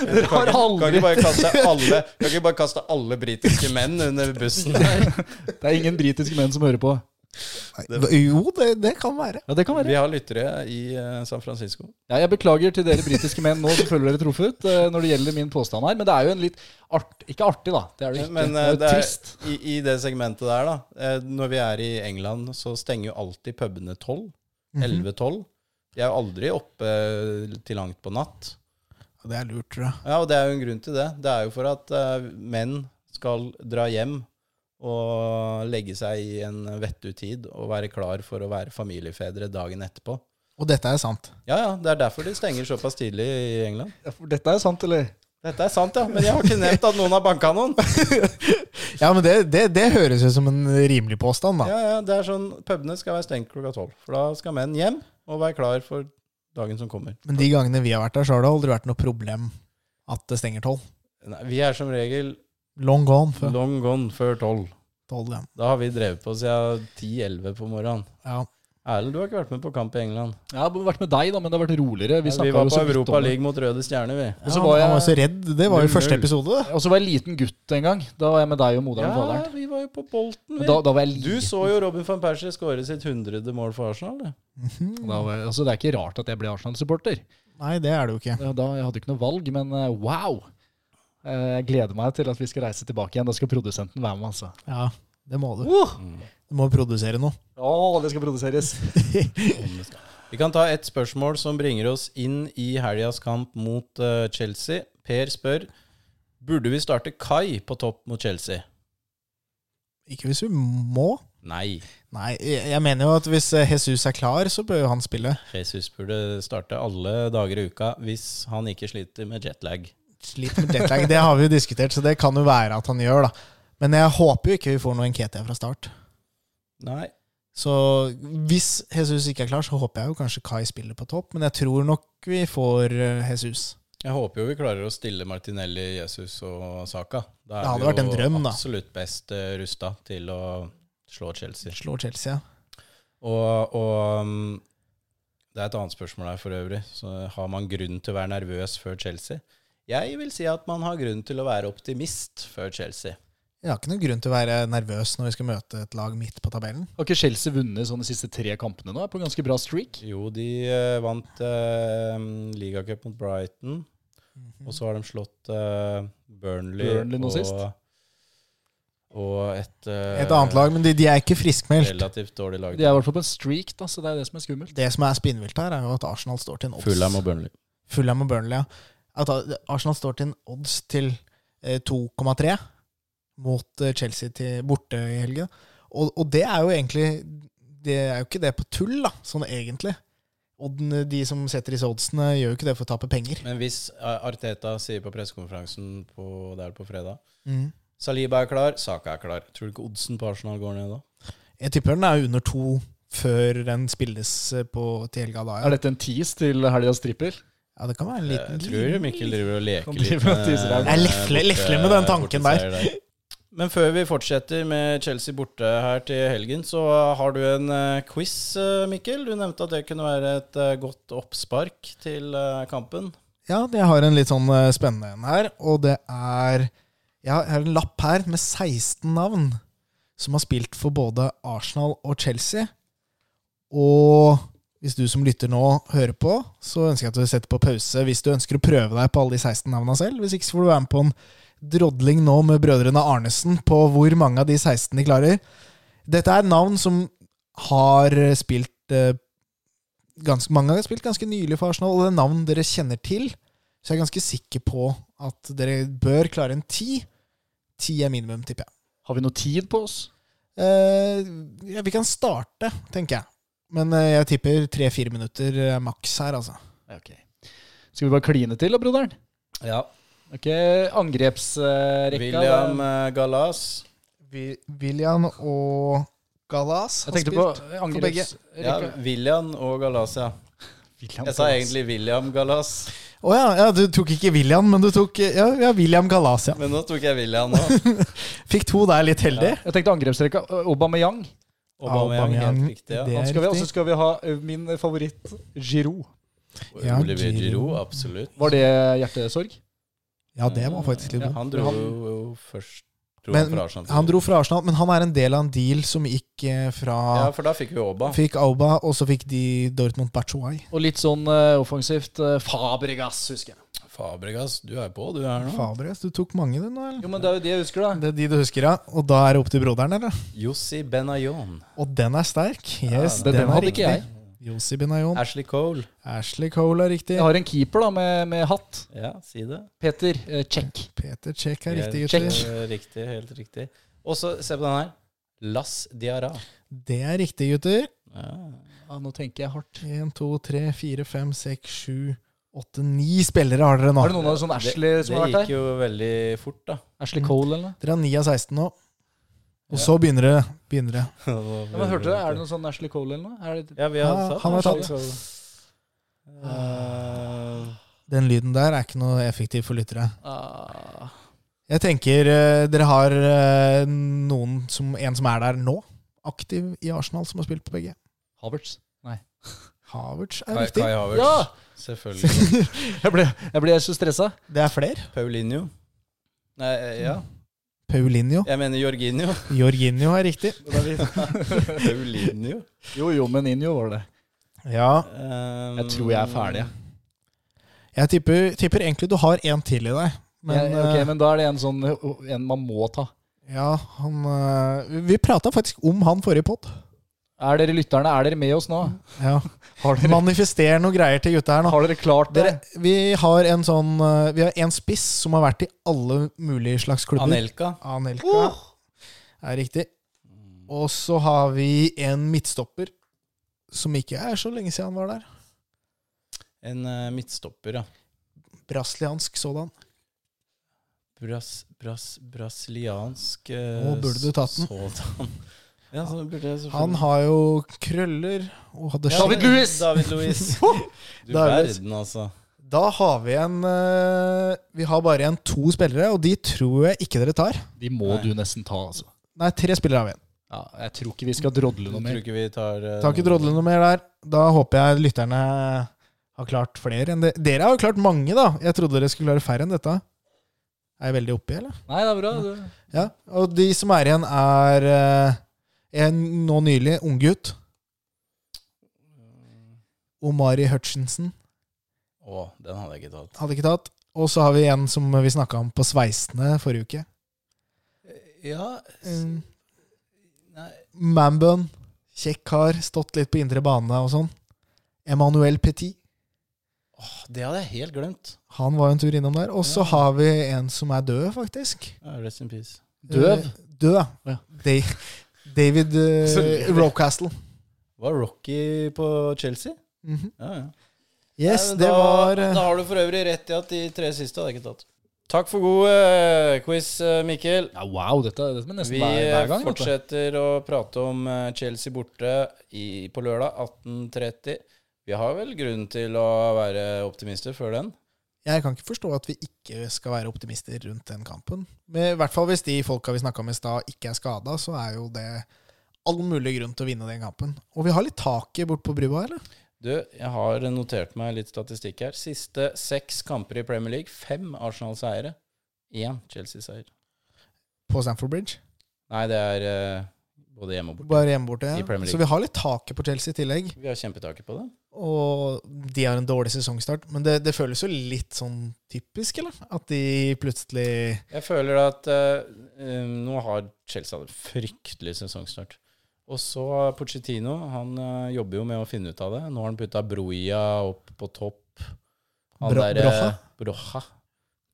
Speaker 1: Dere *laughs* har
Speaker 2: Kan
Speaker 1: aldri
Speaker 2: ikke bare kaste alle, kan ikke bare kaste alle britiske menn under bussen her.
Speaker 1: Det er ingen britiske menn som hører på.
Speaker 3: Nei, Jo, det, det kan være.
Speaker 1: Ja, det kan være.
Speaker 2: Vi har lyttere i eh, San Francisco.
Speaker 1: Ja, jeg beklager til dere britiske menn nå som føler dere truffet eh, når det gjelder min påstand her, men det er jo en litt art... Ikke artig, da. Det er det ikke.
Speaker 2: Men
Speaker 1: det
Speaker 2: eh,
Speaker 1: er jo
Speaker 2: det er,
Speaker 1: trist.
Speaker 2: i, i det segmentet der, da eh, Når vi er i England, så stenger jo alltid pubene tolv.
Speaker 3: Mhm.
Speaker 2: Elleve-tolv. De er jo aldri oppe til langt på natt.
Speaker 3: Ja, Det er lurt, tror jeg.
Speaker 2: Ja, og det er jo en grunn til det. Det er jo for at eh, menn skal dra hjem og legge seg i en vettug tid og være klar for å være familiefedre dagen etterpå.
Speaker 3: Og dette er sant.
Speaker 2: Ja, ja, det er derfor de stenger såpass tidlig i England.
Speaker 1: Ja, for Dette er jo sant, eller?
Speaker 2: Dette er sant, ja, men jeg har ikke nevnt at noen har banka noen.
Speaker 3: Ja, men det, det, det høres jo som en rimelig påstand, da.
Speaker 2: Ja, ja, det er sånn, Pubene skal være stengt klokka tolv, for da skal menn hjem og være klar for dagen som kommer.
Speaker 3: Men de gangene vi har vært der, så har det aldri vært noe problem at det stenger tolv.
Speaker 2: Nei, vi er som regel
Speaker 3: Long gone før
Speaker 2: long gone før tolv.
Speaker 3: tolv. Ja.
Speaker 2: Da har vi drevet på siden ti-elleve på morgenen.
Speaker 3: Ja.
Speaker 2: Erlend, du har ikke vært med på kamp i England.
Speaker 1: Jeg har vært med deg, da, men det har vært roligere. Vi,
Speaker 2: Vi, vi
Speaker 1: snakket
Speaker 2: var
Speaker 1: jo så
Speaker 2: på
Speaker 1: vidt om
Speaker 2: Europa
Speaker 1: det.
Speaker 2: League mot Røde Stjerne, vi.
Speaker 1: Og så
Speaker 3: han,
Speaker 1: var
Speaker 3: han var
Speaker 1: jeg,
Speaker 3: så redd. Det var jo første
Speaker 2: 0-0.
Speaker 3: episode.
Speaker 1: og så var jeg liten gutt en gang. Da var jeg med deg og moderen og faderen.
Speaker 2: vi var jo på Bolten,
Speaker 1: Og Da, da var jeg
Speaker 2: Du
Speaker 1: liten.
Speaker 2: så jo Robin van Persie skåre sitt 100. mål for Arsenal. Det.
Speaker 1: Da var jeg, altså, det er ikke rart at jeg ble Arsenal-supporter.
Speaker 3: Nei, det er det jo ikke.
Speaker 1: Ja, da, jeg hadde ikke noe valg, men eh, wow! Eh, Jeg gleder meg til at vi skal reise tilbake igjen. Da skal produsenten være med, altså.
Speaker 3: Ja, det må du.
Speaker 1: Uh!
Speaker 3: Du må produsere noe.
Speaker 1: Å, det skal produseres!
Speaker 2: Vi kan ta et spørsmål som bringer oss inn i helgas kamp mot eh, Chelsea. Per spør Burde vi starte Kai på topp mot Chelsea.
Speaker 3: Ikke hvis vi må.
Speaker 2: Nei,
Speaker 3: Nei, jeg jeg mener jo at hvis eh, Jesus er klar, så bør jo han spille.
Speaker 2: Jesus burde starte alle dager i uka hvis han ikke sliter med jetlag.
Speaker 3: Slitt med jetlag, det har vi jo diskutert, så det kan jo være at han gjør, da. Men jeg håper jo ikke vi får noe Nketia fra start.
Speaker 2: Nei.
Speaker 3: Så hvis Jesus ikke er klar, så håper jeg jo kanskje Kai spiller på topp, men jeg tror nok vi får eh, Jesus.
Speaker 2: Jeg håper jo vi klarer å stille Martinelli, Jesus og Saka. Da er
Speaker 3: Det hadde
Speaker 2: vi
Speaker 3: vært en
Speaker 2: jo
Speaker 3: drøm, da.
Speaker 2: absolutt best eh, rusta til å slå Chelsea.
Speaker 3: Slår Chelsea.
Speaker 2: Og, og um, det er et annet spørsmål her for øvrig. Så har man grunn til å være nervøs før Chelsea? Jeg vil si at man har grunn til å være optimist før Chelsea.
Speaker 3: Jeg har ikke noen grunn til å være nervøs når vi skal møte et lag midt på tabellen.
Speaker 1: Har ikke Chelsea vunnet sånn de siste tre kampene nå? Er på en ganske bra streak.
Speaker 2: Jo, de eh, vant uh, ligacup mot Brighton,
Speaker 3: Mhm.
Speaker 2: og så har de slått eh, Burnley,
Speaker 1: Burnley nå
Speaker 2: og,
Speaker 1: sist.
Speaker 2: og et, eh,
Speaker 3: Et annet lag, men de, de er ikke friskmeldt.
Speaker 2: relativt dårlig lag.
Speaker 1: De er i hvert fall på en streak, da, så det er det som er skummelt.
Speaker 3: Det som er spinnvilt her, er jo at Arsenal står til en odds.
Speaker 2: Fulham og Burnley.
Speaker 3: Fulham og Burnley, ja. At A- Arsenal står til en odds til eh, 2,3 mot eh, Chelsea til borte i helgen. Og, og det er jo egentlig Det er jo ikke det på tull, da, sånn egentlig. Odden, eh, de som setter disse oddsene, gjør jo ikke det for å tape penger.
Speaker 2: Men hvis eh, Arteta sier på pressekonferansen på- der på fredag
Speaker 3: Mm.
Speaker 2: Saliba er klar, Saka er klar. Tror du ikke oddsen på Arsenal går ned da?
Speaker 3: Jeg tipper den er under to før den spilles eh, på, til helga da.
Speaker 1: Er
Speaker 3: Ja.
Speaker 1: dette en tease til helgas trippel?
Speaker 3: ja, det kan være en liten
Speaker 2: Jeg tror Mikkel driver og leker
Speaker 1: Han
Speaker 2: litt.
Speaker 1: driver og teaser her.
Speaker 3: Jeg lefler-
Speaker 2: borte-
Speaker 3: lefler med den tanken
Speaker 2: borteseier der. Men før vi fortsetter med Chelsea borte her til helgen, så har du en eh, quiz, eh, Mikkel. Du nevnte at det kunne være et eh, godt oppspark til eh, kampen.
Speaker 3: Ja, jeg har en litt sånn eh, spennende en her, og det er Jeg har jeg har en lapp her med 16 navn som har spilt for både Arsenal og Chelsea. Og hvis du som lytter nå hører på, så ønsker jeg at du setter på pause hvis du ønsker å prøve deg på alle de 16 navna selv. Hvis ikke så får du være med på en drodling nå med brødrene Arnesen på hvor mange av de 16 de klarer. Dette er navn som har eh, spilt eh, ganske mange har spilt ganske nylig for Arsenal, og det er navn dere kjenner til. Så jeg er ganske sikker på at dere bør klare en ti. Ti er minimum, tipper jeg.
Speaker 1: Har vi noe tid på oss?
Speaker 3: Eh, ja, vi kan starte, tenker jeg. Men eh, jeg tipper tre-fire minutter eh, maks her, altså.
Speaker 1: Ok. Skal vi bare kline til, da, broderen?
Speaker 2: Ja.
Speaker 1: Ok, Angrepsrekka
Speaker 2: William eh, Gallas.
Speaker 3: William og Galas
Speaker 1: Jeg tenkte på angreps...
Speaker 2: Ja, William og Gallas, ja. Jeg sa egentlig William Gallas,
Speaker 3: Å ja, ja, du tok ikke William, men du tok eh, ja, ja, William Galas, ja.
Speaker 2: men nå tok jeg William nå.
Speaker 3: Fikk to der, litt heldig.
Speaker 1: Jeg tenkte angrepsrekka. eh, Aubameyang.
Speaker 2: Aubameyang, helt
Speaker 3: Aubameyang,
Speaker 2: riktig.
Speaker 3: det
Speaker 2: Ja.
Speaker 1: Han
Speaker 3: er
Speaker 1: skal vi- Og
Speaker 3: riktig.
Speaker 1: så skal vi ha eh, min favoritt, Giroud.
Speaker 3: Ja,
Speaker 2: Olivier
Speaker 3: Giroud.
Speaker 2: Giroud, absolutt.
Speaker 1: Var det hjertesorg?
Speaker 3: Ja, det var faktisk litt
Speaker 2: Ja,
Speaker 3: dumt.
Speaker 2: han dro
Speaker 1: Han-
Speaker 2: jo først dro
Speaker 3: Men
Speaker 2: han fra Arsenal. til-
Speaker 3: Han dro fra Arsenal, men han er en del av en deal som gikk eh,
Speaker 2: Ja,
Speaker 3: fra
Speaker 2: for da fikk vi Auba.
Speaker 3: Fikk Auba, og så fikk de Dortmund Bachuay.
Speaker 1: Og litt sånn eh, offensivt eh, Fabregas, husker jeg.
Speaker 2: Fabregas, du er på, du er nå.
Speaker 3: Fabres, du tok mange, du nå, eller?
Speaker 1: Jo, men det er jo det jeg husker, da.
Speaker 3: Det er de du husker, ja. Og da er det opp til broderen, eller?
Speaker 2: Jussi Benayon.
Speaker 3: Og den er sterk. Yes,
Speaker 1: Den,
Speaker 3: den, er
Speaker 1: hadde
Speaker 3: riktig.
Speaker 1: ikke jeg.
Speaker 3: Josi Benayon.
Speaker 2: Ashley Cole.
Speaker 3: Ashley Cole er riktig.
Speaker 1: Jeg har en keeper da med, med hatt.
Speaker 2: Ja, si det.
Speaker 1: Peter eh, Check.
Speaker 3: Peter Check er riktig,
Speaker 2: Helt,
Speaker 3: gutter.
Speaker 2: eh, Riktig, helt riktig. Og så, se på den her. Lass Diarra.
Speaker 3: Det er riktig, gutter.
Speaker 2: Ja.
Speaker 1: Ja, nå tenker jeg hardt.
Speaker 3: Én, to, tre, fire, fem, seks, sju, åtte, ni spillere har dere nå.
Speaker 1: Er det noen av sånn Ashley
Speaker 2: det,
Speaker 1: som har
Speaker 2: Det
Speaker 1: vært her?
Speaker 2: gikk jo veldig fort, da.
Speaker 1: Ashley Cole, eller noe?
Speaker 3: Dere har ni av 16 nå. Og så begynner det. Begynner det.
Speaker 1: Ja, men hørte du, Er det noe sånn Ashley Cole eller noe? Er det,
Speaker 2: Ja, vi har
Speaker 3: Ja,
Speaker 2: satt
Speaker 3: han har
Speaker 2: Ashley
Speaker 3: tatt.
Speaker 2: Cole. Eh,
Speaker 3: Den lyden der er ikke noe effektiv for lyttere.
Speaker 1: Ah.
Speaker 3: Jeg tenker eh, dere har eh, noen som, en som er der nå, aktiv i Arsenal, som har spilt på begge.
Speaker 1: Havertz? Nei.
Speaker 3: Havertz er
Speaker 2: Kai,
Speaker 3: riktig.
Speaker 2: Kai Havertz.
Speaker 1: Ja!
Speaker 2: Selvfølgelig.
Speaker 1: Jeg ble, jeg ble så stressa.
Speaker 3: Det er flere.
Speaker 2: Paulinho. Nei, eh, ja.
Speaker 3: Paulinho.
Speaker 2: Jeg mener Jorginho.
Speaker 3: Jorginho er riktig.
Speaker 2: Paulinho.
Speaker 1: Jo, jo, men Injo var det.
Speaker 3: Ja.
Speaker 2: Um,
Speaker 1: Jeg tror jeg er ferdig, jeg.
Speaker 3: Jeg tipper, tipper egentlig du har en til i deg. Men,
Speaker 1: Men, ok,
Speaker 3: eh,
Speaker 1: men da er det en sånn eh, en man må ta.
Speaker 3: ja, han eh, Vi prata faktisk om han forrige pod.
Speaker 1: Er dere lytterne, er dere med oss nå?
Speaker 3: Ja.
Speaker 1: *laughs* Har dere,
Speaker 3: Manifester noe greier til gutta her nå.
Speaker 1: har dere klart det?
Speaker 3: Dere, vi har en sånn eh, Vi har en spiss som har vært i alle mulige slags klubber.
Speaker 2: Anelka.
Speaker 3: Anelka.
Speaker 1: Oh!
Speaker 3: Er riktig. Og så har vi en midtstopper som ikke er så lenge siden han var der.
Speaker 2: En eh, midtstopper, ja.
Speaker 3: Brasiliansk sådan.
Speaker 2: Bras, bras, brasiliansk eh,
Speaker 3: Å, burde du tatt den? *laughs*
Speaker 2: Sådan. Ja, så burde jeg selvfølgelig-
Speaker 3: Han har jo krøller og hadde
Speaker 2: Ja,
Speaker 3: skjegg.
Speaker 1: David Luiz!
Speaker 2: David
Speaker 3: *laughs*
Speaker 2: Louis. Du
Speaker 3: David.
Speaker 2: verden, altså.
Speaker 3: Da har vi en eh, Vi har bare igjen to spillere, og de tror jeg ikke dere tar.
Speaker 1: De må
Speaker 2: Nei.
Speaker 1: du nesten ta, altså.
Speaker 3: Nei, tre spillere har vi igjen.
Speaker 1: Ja, jeg tror ikke vi skal drodle
Speaker 2: Jeg
Speaker 1: noe
Speaker 2: tror
Speaker 1: mer.
Speaker 2: ikke vi tar eh,
Speaker 3: Tar ikke drodle noe mer der. Da håper jeg lytterne har klart flere enn det. Dere har jo klart mange, da. Jeg trodde dere skulle klare færre enn dette. Er jeg veldig oppi, eller?
Speaker 1: Nei, det er bra. Det.
Speaker 3: Ja. Og de som er igjen, er eh, en nå nylig unggutt. Omari Hutchinson
Speaker 2: Å, den hadde jeg ikke tatt.
Speaker 3: hadde ikke tatt. Og så har vi en som vi snakka om på Sveisene forrige uke.
Speaker 2: Ja
Speaker 3: Mm.
Speaker 2: Nei.
Speaker 3: Mambun. Kjekk kar. Stått litt på indre bane og sånn. Emmanuel Petit.
Speaker 2: Det hadde jeg helt glemt.
Speaker 3: Han var jo en tur innom der. Og så
Speaker 2: Ja.
Speaker 3: har vi en som er død, faktisk.
Speaker 2: Ja, Rest in peace.
Speaker 1: Døv?
Speaker 3: Eh, Død,
Speaker 1: Ja.
Speaker 3: Da- David uh,
Speaker 2: Så-
Speaker 3: Rocastle.
Speaker 2: Var Rocky på Chelsea?
Speaker 3: Mhm.
Speaker 2: Ja, ja.
Speaker 3: Yes,
Speaker 2: Nei, men
Speaker 3: det
Speaker 2: da,
Speaker 3: var eh,
Speaker 2: Da har du for øvrig rett i at de tre siste hadde jeg ikke tatt. Takk for god eh, quiz, eh, Mikkel.
Speaker 1: Ja, wow, dette, dette må nesten
Speaker 2: Vi
Speaker 1: hver,
Speaker 2: eh,
Speaker 1: hver gang. vet du.
Speaker 2: fortsetter å prate om eh, Chelsea borte i, på lørdag 18.30. Vi har vel grunn til å være optimister før den.
Speaker 3: Jeg kan ikke forstå at vi ikke skal være optimister rundt den kampen. Men I hvert fall hvis de folka vi snakka om i stad, ikke er skada, så er jo det all mulig grunn til å vinne den kampen. Og vi har litt taket bort på brua, eller?
Speaker 2: Du, jeg har notert meg litt statistikk her. Siste seks kamper i Premier League, fem Arsenal-seiere. Én Chelsea-seier.
Speaker 3: På Stamford Bridge.
Speaker 2: Nei, det er eh, både hjemme og borte.
Speaker 3: Bare hjemme borte.
Speaker 2: I Premier League.
Speaker 3: Så vi har litt taket på Chelsea i tillegg.
Speaker 2: Vi har kjempetaket på det.
Speaker 3: Og de har en dårlig sesongstart. Men det, det føles jo litt sånn typisk, eller? At de plutselig
Speaker 2: Jeg føler at eh, um, nå har Chelsea hatt en fryktelig sesongstart. Og så Pochettino, han eh, jobber jo med å finne ut av det. Nå har han putta Broia opp på topp. Han
Speaker 3: Bro-
Speaker 2: der, eh, Broja.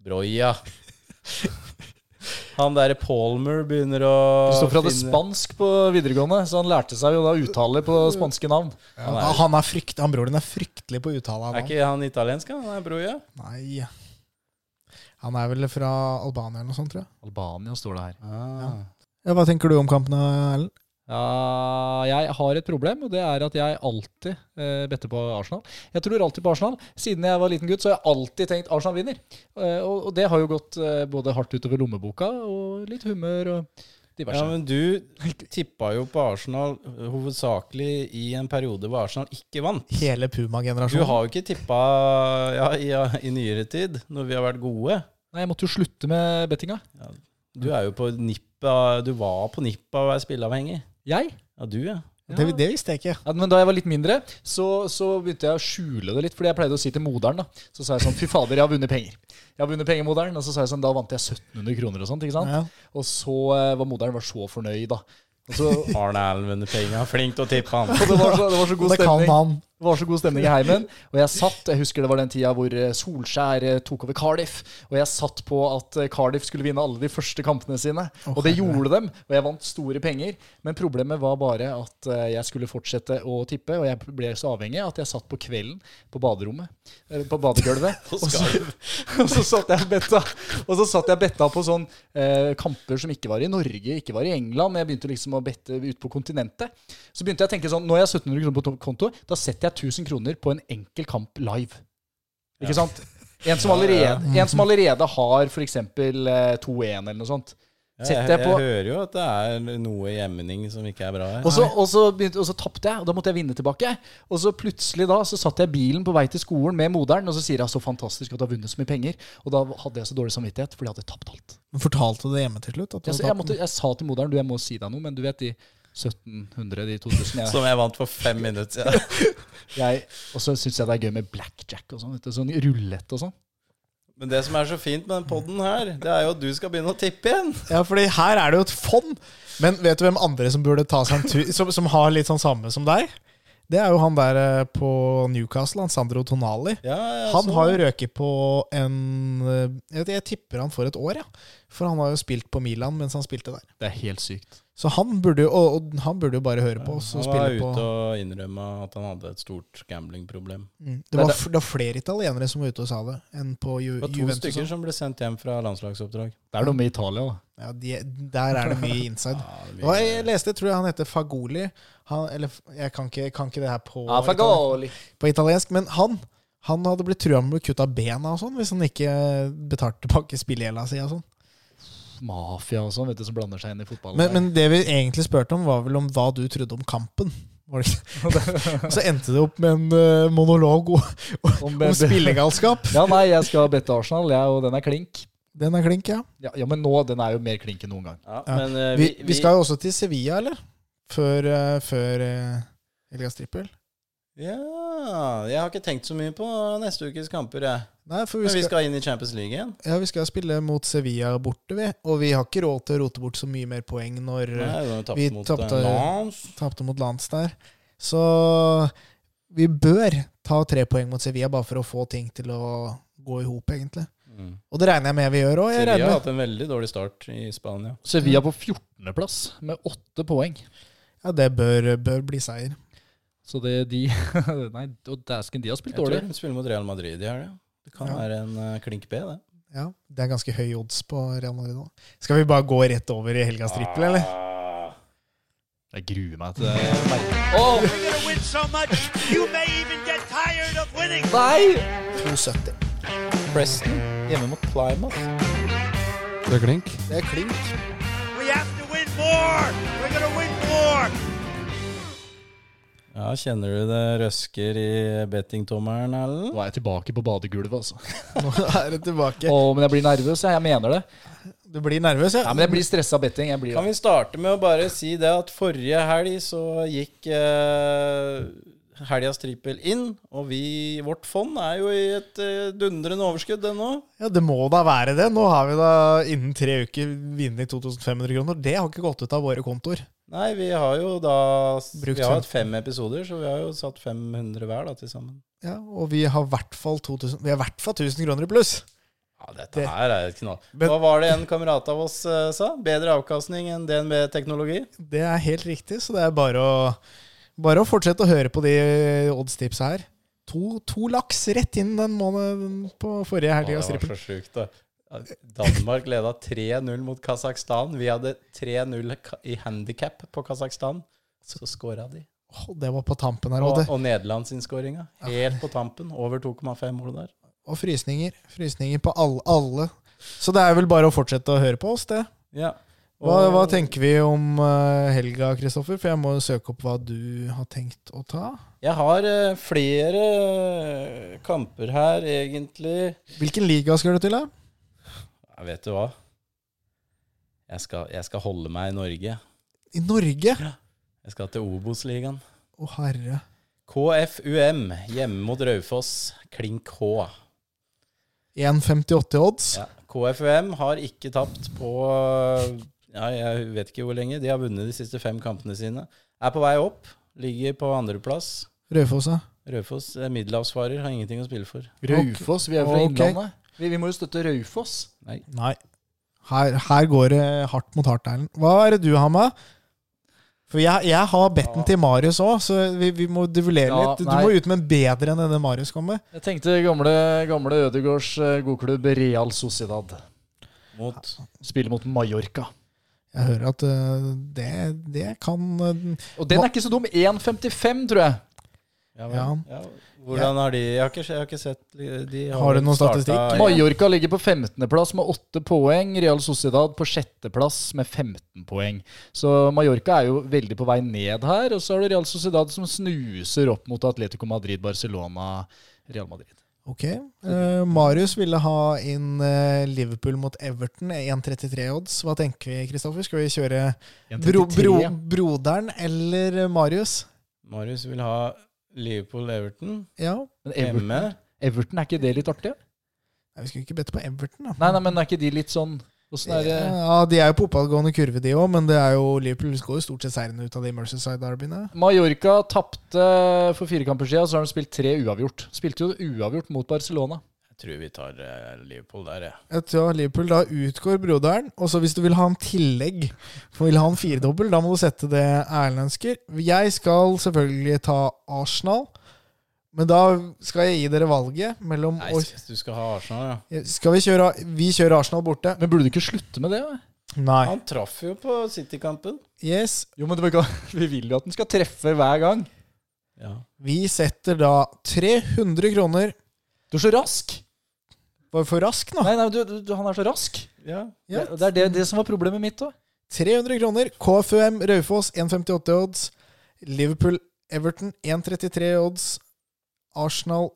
Speaker 2: Broja. Han derre Palmer begynner å
Speaker 1: Kristoffer hadde
Speaker 2: finne-
Speaker 1: spansk på videregående, så han lærte seg jo da uttale på spanske navn.
Speaker 3: Han er, han, er frykt, han broren din er fryktelig på uttale av
Speaker 2: Er
Speaker 3: navn.
Speaker 2: ikke han italiensk, han? Han er bror, ja.
Speaker 3: Nei. Han er vel fra Albania eller noe sånt, tror jeg.
Speaker 1: Albania står det her.
Speaker 2: Ah.
Speaker 3: Ja, hva tenker du om kampene, Erlend?
Speaker 1: Ja, jeg har et problem, og det er at jeg alltid eh, better på Arsenal. Jeg tror alltid på Arsenal. Siden jeg var liten gutt, så har jeg alltid tenkt Arsenal vinner. Eh, og, og det har jo gått eh, både hardt utover lommeboka og litt humør og diverse.
Speaker 2: Ja, men du tippa jo på Arsenal hovedsakelig i en periode hvor Arsenal ikke vant.
Speaker 3: Hele
Speaker 2: Du
Speaker 3: Puma-generasjonen.
Speaker 2: har jo ikke tippa ja, i, i nyere tid, når vi har vært gode.
Speaker 1: Nei, jeg måtte jo slutte med bettinga.
Speaker 2: Du er jo på nippet av Du var på nippet av å være spilleavhengig.
Speaker 1: Jeg?
Speaker 2: Ja, du, ja.
Speaker 1: Ja.
Speaker 3: Det, det visste jeg ikke.
Speaker 1: Ja, men da jeg var litt mindre, så, så begynte jeg å skjule det litt. Fordi jeg pleide å si til moderen, da. Så sa jeg sånn Fy fader, jeg har vunnet penger. Jeg har vunnet penger, moderen. Og så sa jeg sånn Da vant jeg 1700 kroner og sånt, ikke sant.
Speaker 3: Ja.
Speaker 1: Og så eh, var moderen var så fornøyd, da. Og så,
Speaker 2: Arne Allen vinner penger. Flink til å tippe, han.
Speaker 1: og det, var så, det var så god
Speaker 3: Det kan
Speaker 1: stemning.
Speaker 3: han.
Speaker 1: Det var så god stemning i heimen. Og jeg satt, jeg husker det var den tida hvor eh, Solskjær eh, tok over Cardiff. Og jeg satt på at eh, Cardiff skulle vinne alle de første kampene sine. Og det gjorde dem, og jeg vant store penger. Men problemet var bare at eh, jeg skulle fortsette å tippe, og jeg ble så avhengig at jeg satt på kvelden på baderommet. Eller på
Speaker 3: *laughs*
Speaker 1: badegulvet. og, så, *laughs* og så satt jeg og betta, og så satt jeg og betta på sånn eh, kamper som ikke var i Norge, ikke var i England. Jeg begynte liksom å bette ut på kontinentet. Så begynte jeg å tenke sånn Nå har jeg 1700 kroner på to- konto. Da setter jeg 1000 kroner på en enkel kamp live. Ikke sant? En som allerede, en som allerede har f.eks. 2-1 eller noe sånt.
Speaker 2: Jeg,
Speaker 1: Setter jeg
Speaker 2: jeg
Speaker 1: på
Speaker 2: hører jo at det er noe gjemning som ikke er bra her.
Speaker 1: Og så, og så, begynte, og så tapte jeg, og da måtte jeg vinne tilbake. Og så plutselig da, så satt jeg i bilen på vei til skolen med moderen, og så sier jeg så fantastisk at du har vunnet så mye penger. Og da hadde jeg så dårlig samvittighet, fordi jeg hadde tapt alt.
Speaker 3: Men Fortalte du det hjemme til slutt? At du
Speaker 1: Jeg,
Speaker 3: hadde
Speaker 1: så jeg,
Speaker 3: tapt
Speaker 1: måtte,
Speaker 3: den?
Speaker 1: jeg sa til moderen du, jeg må si deg noe, men du vet de 1700, de 2000 jeg,
Speaker 2: Som jeg vant for fem minutter siden.
Speaker 1: jeg, Og så syns jeg det er gøy med blackjack og sånn. vet du, Sånn rullett og sånn.
Speaker 2: Men det som er så fint med den poden her, det er jo at du skal begynne å tippe igjen.
Speaker 3: ja, fordi her er det jo et fond. Men vet du hvem andre som burde ta seg en tur, som, som har litt sånn samme som deg? Det er jo han der eh, på Newcastle, han Sandro Tonali.
Speaker 2: Ja, ja, sånn.
Speaker 3: Han
Speaker 2: så-
Speaker 3: har jo røket på en eh, Jeg, jeg tipper han får et år, ja. For han har jo spilt på Milan mens han spilte der.
Speaker 1: Det er helt sykt.
Speaker 3: Så han burde jo, og, og han burde jo bare høre på oss og
Speaker 2: Han var ute
Speaker 3: spille på
Speaker 2: og innrømma at han hadde et stort gamblingproblem.
Speaker 3: Mm. det, var, f- det var flere italienere som var ute og sa det, enn på Ju,
Speaker 2: Det var to
Speaker 3: Juventus.
Speaker 2: stykker
Speaker 3: også.
Speaker 2: som ble sendt hjem fra landslagsoppdrag.
Speaker 1: Det er noe med Italia, da.
Speaker 3: Ja, de, der er det mye inside.
Speaker 2: Ja, det
Speaker 3: Og jeg leste, tror jeg han heter Fagoli. Han, eller, jeg kan ikke, kan ikke det her på, på italiensk, men han han hadde blitt trua med å kutte av bena og sånn hvis han ikke betalte tilbake spillegjelda si. og sånn.
Speaker 1: Mafia og sånn, vet du, som blander seg inn i fotballen.
Speaker 3: Men, men det vi egentlig spurte om, var vel om hva du trodde om kampen. Var det ikke?
Speaker 2: *laughs*
Speaker 3: Og så endte det opp med en eh, monolog om,
Speaker 1: Om-
Speaker 3: om spillegalskap.
Speaker 1: *laughs* Ja, nei, jeg skal bette Arsenal, jeg, og den er klink.
Speaker 3: Den er klink, ja.
Speaker 1: Ja, ja, men nå, den er jo mer klink enn noen gang.
Speaker 2: Ja,
Speaker 3: Ja.
Speaker 2: men eh,
Speaker 3: Vi, vi skal jo også til Sevilla, eller? Før, eh, før eh, Helgas trippel.
Speaker 2: Ja, jeg har ikke tenkt så mye på neste ukes kamper, jeg.
Speaker 3: Nei, for
Speaker 2: Men
Speaker 3: vi
Speaker 2: vi
Speaker 3: skal,
Speaker 2: skal inn i Champions League igjen.
Speaker 3: ja, vi skal spille mot Sevilla borte, vi. Og vi har ikke råd til å rote bort så mye mer poeng når eh,
Speaker 2: Nei, vi tapte
Speaker 3: vi
Speaker 2: mot
Speaker 3: tapte-
Speaker 2: eh, Lens.
Speaker 3: tapte mot Lance der. Så vi bør ta tre poeng mot Sevilla bare for å få ting til å gå i hop, egentlig.
Speaker 2: Mm.
Speaker 3: Og det regner jeg med vi gjør òg.
Speaker 2: Sevilla altså. har hatt en veldig dårlig start i Spania.
Speaker 1: Sevilla på 14.-plass med åtte poeng.
Speaker 3: Ja, det bør, bør bli seier.
Speaker 1: Så det de *laughs* Nei, og dæsken, de har
Speaker 2: Jeg
Speaker 1: spilt
Speaker 2: tror
Speaker 1: dårlig.
Speaker 2: de spiller mot Real Madrid i helga. Det kan
Speaker 3: Ja.
Speaker 2: være en eh, klink B, det.
Speaker 3: Ja, Det er ganske høy odds på Real Madrid nå. Skal vi bare gå rett over i helgas trippel, eller?
Speaker 2: Ah.
Speaker 1: Jeg gruer meg til det.
Speaker 4: You're going to win so much, you may even get tired of winning.
Speaker 3: 2,70.
Speaker 2: Preston hjemme mot Plymouth.
Speaker 5: Det er klink.
Speaker 3: Det er klink.
Speaker 4: We have to win more. We're going to win more.
Speaker 2: Ja, Kjenner du det røsker i bettingtommelen, Erlend?
Speaker 1: Nå er jeg tilbake på badegulvet, altså.
Speaker 3: Nå er det
Speaker 1: *laughs*
Speaker 3: tilbake.
Speaker 1: Å, men jeg blir nervøs, jeg. Jeg mener det.
Speaker 3: Du blir nervøs, ja?
Speaker 1: Nei, men jeg blir stressa av betting. Jeg blir
Speaker 2: Kan vi starte med å bare si det at forrige helg så gikk eh, helgas trippel inn, og vi, vårt fond er jo i et eh, dundrende overskudd ennå.
Speaker 3: Ja, Det må da være det. Nå har vi da innen tre uker vunnet 2500 kroner. Det har ikke gått ut av våre kontoer.
Speaker 2: Nei, vi har jo da
Speaker 3: Brukt
Speaker 2: Vi har
Speaker 3: fem.
Speaker 2: hatt fem episoder, så vi har jo satt 500 hver da til sammen.
Speaker 3: Ja, og vi har i hvert fall 2000 Vi har i hvert fall 1000 kroner i pluss.
Speaker 2: Ja, dette her er et knall. Hva var det en kamerat av oss eh, sa? Bedre avkastning enn DNB-teknologi?
Speaker 3: Det er helt riktig, så det er bare å, bare å fortsette å høre på de oddstipsa her. To, to laks rett inn den måneden på forrige
Speaker 2: Å, Det
Speaker 3: helgas
Speaker 2: var
Speaker 3: trippel.
Speaker 2: så sjukt, da. Danmark leda 3-0 mot Kasakhstan. Vi hadde 3-0 ka- i handikap på Kasakhstan. Så skåra de.
Speaker 3: Åh, Det var på tampen her,
Speaker 2: Og,
Speaker 3: Odde.
Speaker 2: og Nederland sin skåringa. Helt på tampen. Over 2,5 mål der.
Speaker 3: Og frysninger. Frysninger på alle, alle. Så det er vel bare å fortsette å høre på oss, det.
Speaker 2: Ja.
Speaker 3: Hva, hva tenker vi om eh, helga, Kristoffer? For jeg må jo søke opp hva du har tenkt å ta.
Speaker 2: Jeg har eh, flere eh, kamper her, egentlig.
Speaker 3: Hvilken liga skal du til, da?
Speaker 2: Ja, vet du hva? Jeg skal, jeg skal holde meg i Norge.
Speaker 3: I Norge?
Speaker 2: Jeg skal til Obos-ligaen.
Speaker 3: Å, herre.
Speaker 2: KFUM hjemme mot Raufoss, klink H.
Speaker 3: 1,58 i odds.
Speaker 2: Ja. KFUM har ikke tapt på ja, Jeg vet ikke hvor lenge. De har vunnet de siste fem kampene sine. Er på vei opp. Ligger på andreplass.
Speaker 3: Raufoss, ja.
Speaker 2: Raufoss er middelhavsfarer, har ingenting å spille for.
Speaker 1: Raufoss, vi er jo fra
Speaker 3: Ok.
Speaker 1: Innlandet. Vi, vi må jo støtte Raufoss.
Speaker 2: Nei.
Speaker 3: Nei. Her, her går det hardt mot hardt, Erlend. Hva er det du har med? For jeg, jeg har betten til Marius òg, så vi, vi må duellere
Speaker 1: Ja,
Speaker 3: litt. Du
Speaker 1: nei.
Speaker 3: må ut med en bedre enn denne Marius kom med.
Speaker 1: Jeg tenkte gamle, gamle Ødegårds eh, godklubb Real Sociedad.
Speaker 2: Mot
Speaker 1: Spiller mot Mallorca.
Speaker 3: Jeg hører at øh, det, det kan øh,
Speaker 1: Og den er ikke så dum. 1,55, tror jeg.
Speaker 2: ja,
Speaker 3: Ja.
Speaker 2: vel. ja. Hvordan har de Jeg har ikke, jeg har ikke sett de
Speaker 3: Har du
Speaker 2: vel
Speaker 3: noen
Speaker 2: startet-
Speaker 3: statistikk?
Speaker 1: Mallorca ligger på 15.-plass med 8 poeng. Real Sociedad på 6.-plass med 15 poeng. Så Mallorca er jo veldig på vei ned her. Og så har du Real Sociedad som snuser opp mot Atletico Madrid, Barcelona, Real Madrid.
Speaker 3: Ok. Eh, Marius ville ha inn eh, Liverpool mot Everton, 1,33 odds. Hva tenker vi, Kristoffer? Skal vi kjøre bro, bro,
Speaker 1: 1,33.
Speaker 3: broderen eller eh, Marius?
Speaker 2: Marius vil ha Liverpool-Everton
Speaker 3: Ja.
Speaker 1: Men Everton,
Speaker 2: hjemme.
Speaker 1: Everton, er ikke det litt artig?
Speaker 3: Nei, vi skulle ikke bedt på Everton, da.
Speaker 1: Nei, nei, men er ikke de litt sånn Åssen er det
Speaker 3: Ja, de er jo på oppadgående kurve, de òg, men det er jo Liverpool går jo stort sett seirende ut av de Merceside-derbyene.
Speaker 1: Mallorca tapte for fire kamper siden, så har de spilt tre uavgjort. Spilte jo uavgjort mot Barcelona.
Speaker 2: Jeg tror vi tar eh, Liverpool der, jeg.
Speaker 3: Jeg tror Liverpool da utgår broderen, og så hvis du vil ha en tillegg, for vil ha en firedobbel, da må du sette det Erlend ønsker. Jeg skal selvfølgelig ta Arsenal, men da skal jeg gi dere valget mellom
Speaker 2: Nei,
Speaker 3: å
Speaker 2: s- du skal ha Arsenal, ja.
Speaker 3: Skal vi kjøre Vi kjører Arsenal borte.
Speaker 1: Men burde du ikke slutte med det? da?
Speaker 3: Nei.
Speaker 2: Han traff jo på City-kampen.
Speaker 3: Yes.
Speaker 1: Jo, men det var ikke- *laughs* Vi vil jo at den skal treffe hver gang.
Speaker 2: Ja.
Speaker 3: Vi setter da 300 kroner.
Speaker 1: Du er så rask!
Speaker 3: Var for rask nå?
Speaker 1: Nei, nei, du, du, du- han er så rask.
Speaker 2: ja.
Speaker 3: Ja.
Speaker 1: Det, det er det, det som var problemet mitt òg.
Speaker 3: 300 kroner. KFUM Raufoss 1,58 odds. Liverpool Everton 1,33 odds. Arsenal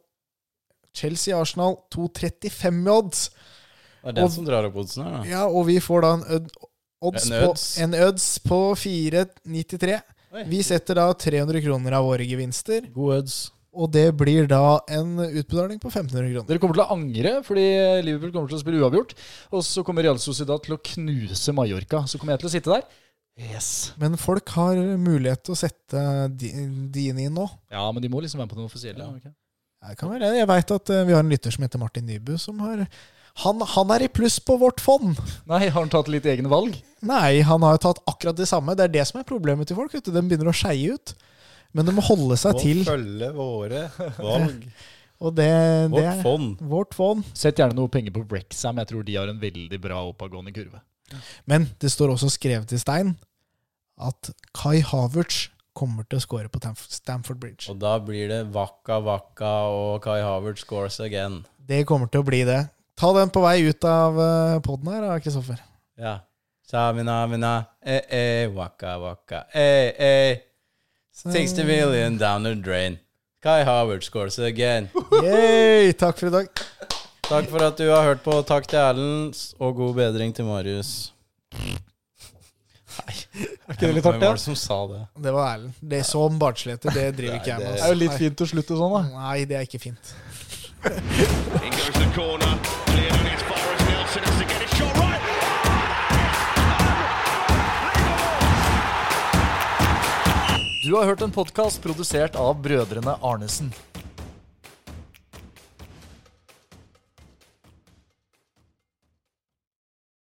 Speaker 3: Chelsea Arsenal 2,35 i odds.
Speaker 2: Det er den
Speaker 3: Og-
Speaker 2: som drar opp oddsen her, da.
Speaker 3: Ja, og vi får da en ød, odds,
Speaker 2: En
Speaker 3: på,
Speaker 2: odds.
Speaker 3: en odds på 4,93.
Speaker 2: Oi.
Speaker 3: Vi setter da 300 kroner av våre gevinster,
Speaker 2: God odds.
Speaker 3: og det blir da en utbetaling på 1500 kroner.
Speaker 1: Dere kommer til å angre, fordi Liverpool kommer til å spille uavgjort. Og så kommer Real Sociedad til å knuse Mallorca. Så kommer jeg til å sitte der. Yes.
Speaker 3: Men folk har mulighet til å sette di- dine inn nå.
Speaker 1: Ja, men de må liksom være på den offisielle.
Speaker 2: Ja.
Speaker 1: ok?
Speaker 3: Ja, Det kan være. Jeg veit at eh, vi har en lytter som heter Martin Nybu, som har han, han er i pluss på vårt fond!
Speaker 1: Nei, har han tatt litt egne valg?
Speaker 3: Nei, han har jo tatt akkurat det samme. Det er det som er problemet til folk. Vet du. De begynner å skeie ut. Men de må holde seg til.
Speaker 2: følge våre valg.
Speaker 3: Og det, det
Speaker 2: Vårt
Speaker 3: er
Speaker 2: fond.
Speaker 3: vårt fond.
Speaker 1: Sett gjerne noe penger på Brexham. Jeg tror de har en veldig bra oppadgående kurve.
Speaker 3: Men det står også skrevet i stein at Kai Havertz kommer til å score på Tamf- Stamford Bridge.
Speaker 2: Og da blir det Waka Waka og Kai Havertz scores again.
Speaker 3: Det kommer til å bli det. Ta den på vei ut av poden her, da, Kristoffer.
Speaker 2: Ja. Samina, mina, eh, eh, waka, waka, eh, eh. 60 million down the drain. Kai Havertz scores again.
Speaker 3: Yay! Takk for i dag.
Speaker 2: Takk for at du har hørt på. Takk til Erlend, og god bedring til Marius. Nei,
Speaker 1: ikke
Speaker 2: er
Speaker 1: det litt hardt,
Speaker 2: Hvem
Speaker 1: ja?
Speaker 2: var det som sa det?
Speaker 3: Det var Erlend. Det er så barnsligheter, det driver ikke jeg med.
Speaker 1: Det
Speaker 2: Nei, det-
Speaker 3: altså.
Speaker 1: er jo litt fint å slutte sånn, da.
Speaker 3: Nei, det er ikke fint.
Speaker 4: In goes the corner, cleared and it's Forrest Nelson has to get it shot right.
Speaker 1: Du har hørt en podkast produsert av brødrene Arnesen.